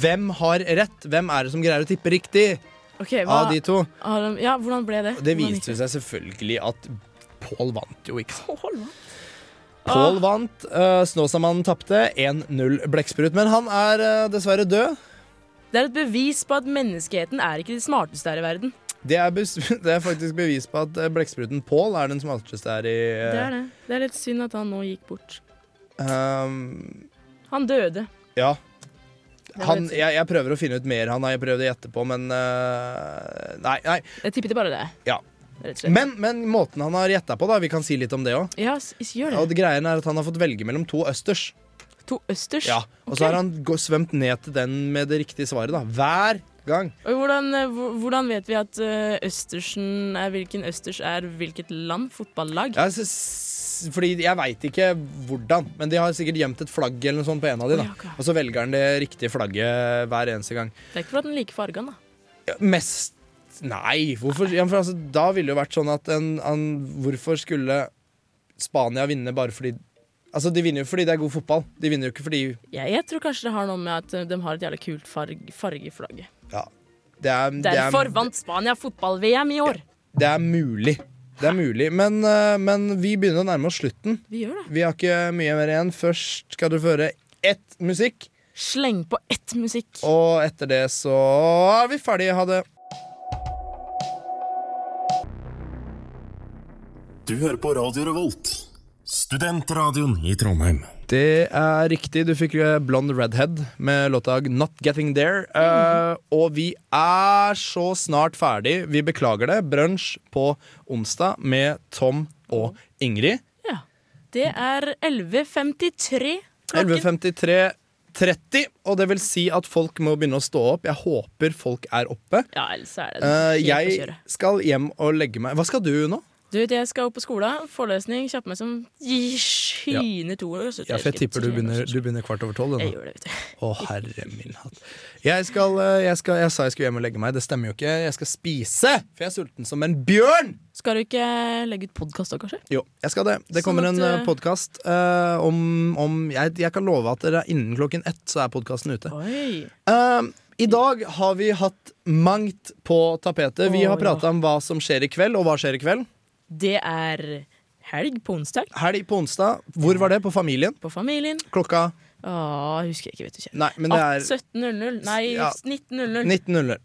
Speaker 2: Hvem har rett? Hvem er det som greier å tippe riktig
Speaker 3: Ok, hva,
Speaker 2: av de to?
Speaker 3: har han- Ja, hvordan ble det?
Speaker 2: Og Det
Speaker 3: Hvordan gikk
Speaker 2: viste seg selvfølgelig at Pål vant jo, ikke sant?
Speaker 3: Pål, hva? Ah.
Speaker 2: Pål vant, uh, Snåsamannen tapte, 1-0 blekksprut. Men han er eh, dessverre død.
Speaker 3: Det er et bevis på at menneskeheten er ikke de smarteste her i verden.
Speaker 2: Det er, bes det er faktisk bevis på at eh, blekkspruten Pål er den smarteste her i eh,
Speaker 3: Det er det. Det er litt synd at han nå gikk bort.
Speaker 2: ehm,
Speaker 3: Han døde.
Speaker 2: ja.
Speaker 3: var
Speaker 2: Han,
Speaker 3: litt synd.
Speaker 2: jeg, jeg prøver å finne ut mer. Han har jeg prøvd å gjette på, men eh, Nei, nei.
Speaker 3: Jeg tippet bare det.
Speaker 2: Ja.
Speaker 3: Rett og slett.
Speaker 2: Men, men måten han har gjetta på, da, vi kan si litt om det òg.
Speaker 3: Ja, s- s- gjør
Speaker 2: Og det
Speaker 3: det.
Speaker 2: greien er at han har fått velge mellom to østers.
Speaker 3: To østers?
Speaker 2: Ja, Og
Speaker 3: Ok.
Speaker 2: så har han gå- svømt ned til den med det riktige svaret, da. Hver gang.
Speaker 3: Og hvordan, eh, hvor- hvordan vet vi at eh, østersen er hvilken østers er hvilket land? Fotballag?
Speaker 2: Ja, s- s- fordi jeg veit ikke hvordan, men de har sikkert gjemt et flagg eller noe sånt på en av de,
Speaker 3: Å,
Speaker 2: da.
Speaker 3: ja, ok.
Speaker 2: Og så velger han det riktige flagget hver eneste gang.
Speaker 3: Det er ikke for at den liker fargen, da.
Speaker 2: Ja, Mest Nei, hvorfor ja, for altså, Da ville det jo vært sånn at en, en Hvorfor skulle Spania vinne bare fordi Altså, de vinner jo fordi det er god fotball. De vinner jo ikke fordi
Speaker 3: Ja, jeg tror kanskje det har noe med at eh, de har et jævlig kult farg, fargeflagg.
Speaker 2: Ja. Det er, det er,
Speaker 3: Derfor vant Spania fotball-VM i år.
Speaker 2: Det er mulig. Det er mulig. Men, eh, men vi begynner å nærme oss slutten.
Speaker 3: Vi gjør det.
Speaker 2: Vi har ikke mye mer igjen. Først skal du føre ett musikk.
Speaker 3: Sleng på ett musikk.
Speaker 2: Og etter det så er vi ferdige. Ha det.
Speaker 12: Du hører på Radio Revolt, studentradioen i Trondheim.
Speaker 2: Det er riktig. Du fikk eh, Blond Redhead med låta Not Getting There. Eh, og vi er så snart ferdig. Vi beklager det. Brunsj på onsdag med Tom og Ingrid.
Speaker 3: Ja. Det er 11.53.
Speaker 2: 11.53.30, og det vil si at folk må begynne å stå opp. Jeg håper folk er oppe.
Speaker 3: Ja, ellers er det
Speaker 2: Eh,
Speaker 3: helt å
Speaker 2: jeg
Speaker 3: kjøre.
Speaker 2: skal hjem og legge meg. Hva skal du nå?
Speaker 3: Du vet, jeg skal opp på skolen. Forelesning. Kjappe meg som gi- skyner to år. så
Speaker 2: Ja, for jeg tipper du begynner, du begynner kvart over tolv. du, nå.
Speaker 3: Jeg gjør det, vet du.
Speaker 2: Å, herre min hatt. Jeg, skal, eh, jeg, skal, jeg sa jeg skulle hjem og legge meg. Det stemmer jo ikke. Jeg skal spise, for jeg er sulten som en bjørn!
Speaker 3: Skal du ikke legge ut podkast da, kanskje?
Speaker 2: Jo, jeg skal det. Det
Speaker 3: Sånn
Speaker 2: kommer
Speaker 3: at,
Speaker 2: en
Speaker 3: eh,
Speaker 2: podkast om, om jeg, jeg kan love at dere er innen klokken ett, så er podkasten ute.
Speaker 3: Oi.
Speaker 2: Eh, I dag har vi hatt mangt på tapetet. Vi
Speaker 3: Å,
Speaker 2: har prata om hva som skjer i kveld, og hva skjer i kveld?
Speaker 3: Det er helg på onsdag.
Speaker 2: Helg på onsdag. Hvor var det? På Familien?
Speaker 3: På Familien.
Speaker 2: Klokka
Speaker 3: Åh, husker jeg ikke, vet du ikke.
Speaker 2: Nei, men det er
Speaker 3: 17.00. Nei,
Speaker 2: Ja.
Speaker 3: 19.00.
Speaker 2: 19.00.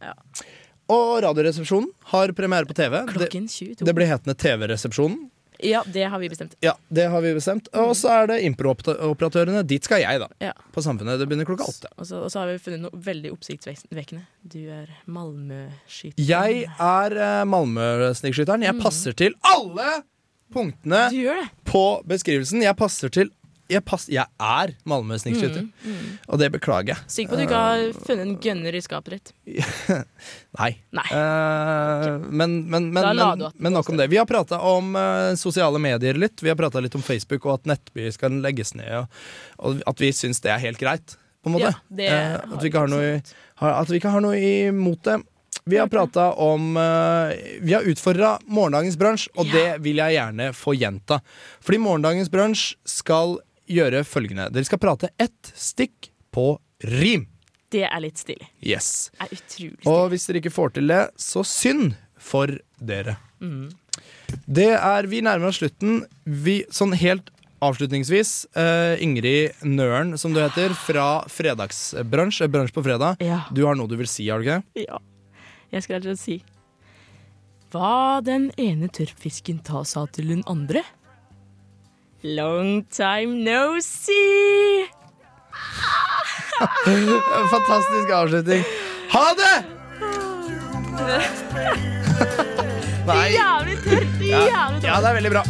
Speaker 2: Og Radioresepsjonen har premiere på TV. Klokken
Speaker 3: 22.
Speaker 2: Det blir hetende TV-resepsjonen.
Speaker 3: Ja, det har vi bestemt.
Speaker 2: Ja, det har vi bestemt. Og så er det improoperatørene. Dit skal jeg, da.
Speaker 3: Ja.
Speaker 2: På Samfunnet. Det begynner klokka åtte.
Speaker 3: Og så, og så har vi funnet noe veldig oppsiktsvekkende. Du er Malmø-skyter.
Speaker 2: Jeg er eh, Malmö-snikskytteren.
Speaker 3: Mm.
Speaker 2: Jeg passer til alle punktene på beskrivelsen. Jeg passer til Jeg, pass, jeg er Malmö-snikskytter,
Speaker 3: Mm, mm.
Speaker 2: og det beklager jeg.
Speaker 3: Sikker på at du ikke har funnet en gunner i skapet ditt.
Speaker 2: Nei. Eh, men, men, men,
Speaker 3: Da la
Speaker 2: men,
Speaker 3: du at-
Speaker 2: men nok om det. Vi har prata om eh, sosiale medier litt. Vi har prata litt om Facebook og at Nettby skal legges ned. Og, og at vi syns det er helt greit. på en måte.
Speaker 3: Ja, det
Speaker 2: Eh,
Speaker 3: har
Speaker 2: at, vi ikke har noe, i- har, at vi ikke har noe imot det. Vi har prata om eh, Vi har utfordra morgendagens brunsj, og det vil jeg gjerne få gjenta. Fordi morgendagens brunsj skal gjøre følgende. Dere skal prate ett stikk på rim.
Speaker 3: Det er litt stilig.
Speaker 2: Yes.
Speaker 3: Det er utrolig.
Speaker 2: Og hvis dere ikke får til det, så synd for dere.
Speaker 3: Mm.
Speaker 2: Det er, Vi nærmer oss slutten. Vi, sånn helt avslutningsvis, eh, Ingrid Nøren, som du heter, fra fredagsbrunsj, eh, brunsj på fredag.
Speaker 3: Ja.
Speaker 2: Du har noe du vil si, har du ikke?
Speaker 3: Ja. Jeg skal altså si Hva den ene tørrfisken ta sa til den andre? Long time no see!
Speaker 2: Fantastisk avslutning. Ha det! Nei.
Speaker 3: Jævlig tørt!
Speaker 2: Ja.
Speaker 3: Jævlig tørt.
Speaker 2: ja, det er veldig bra.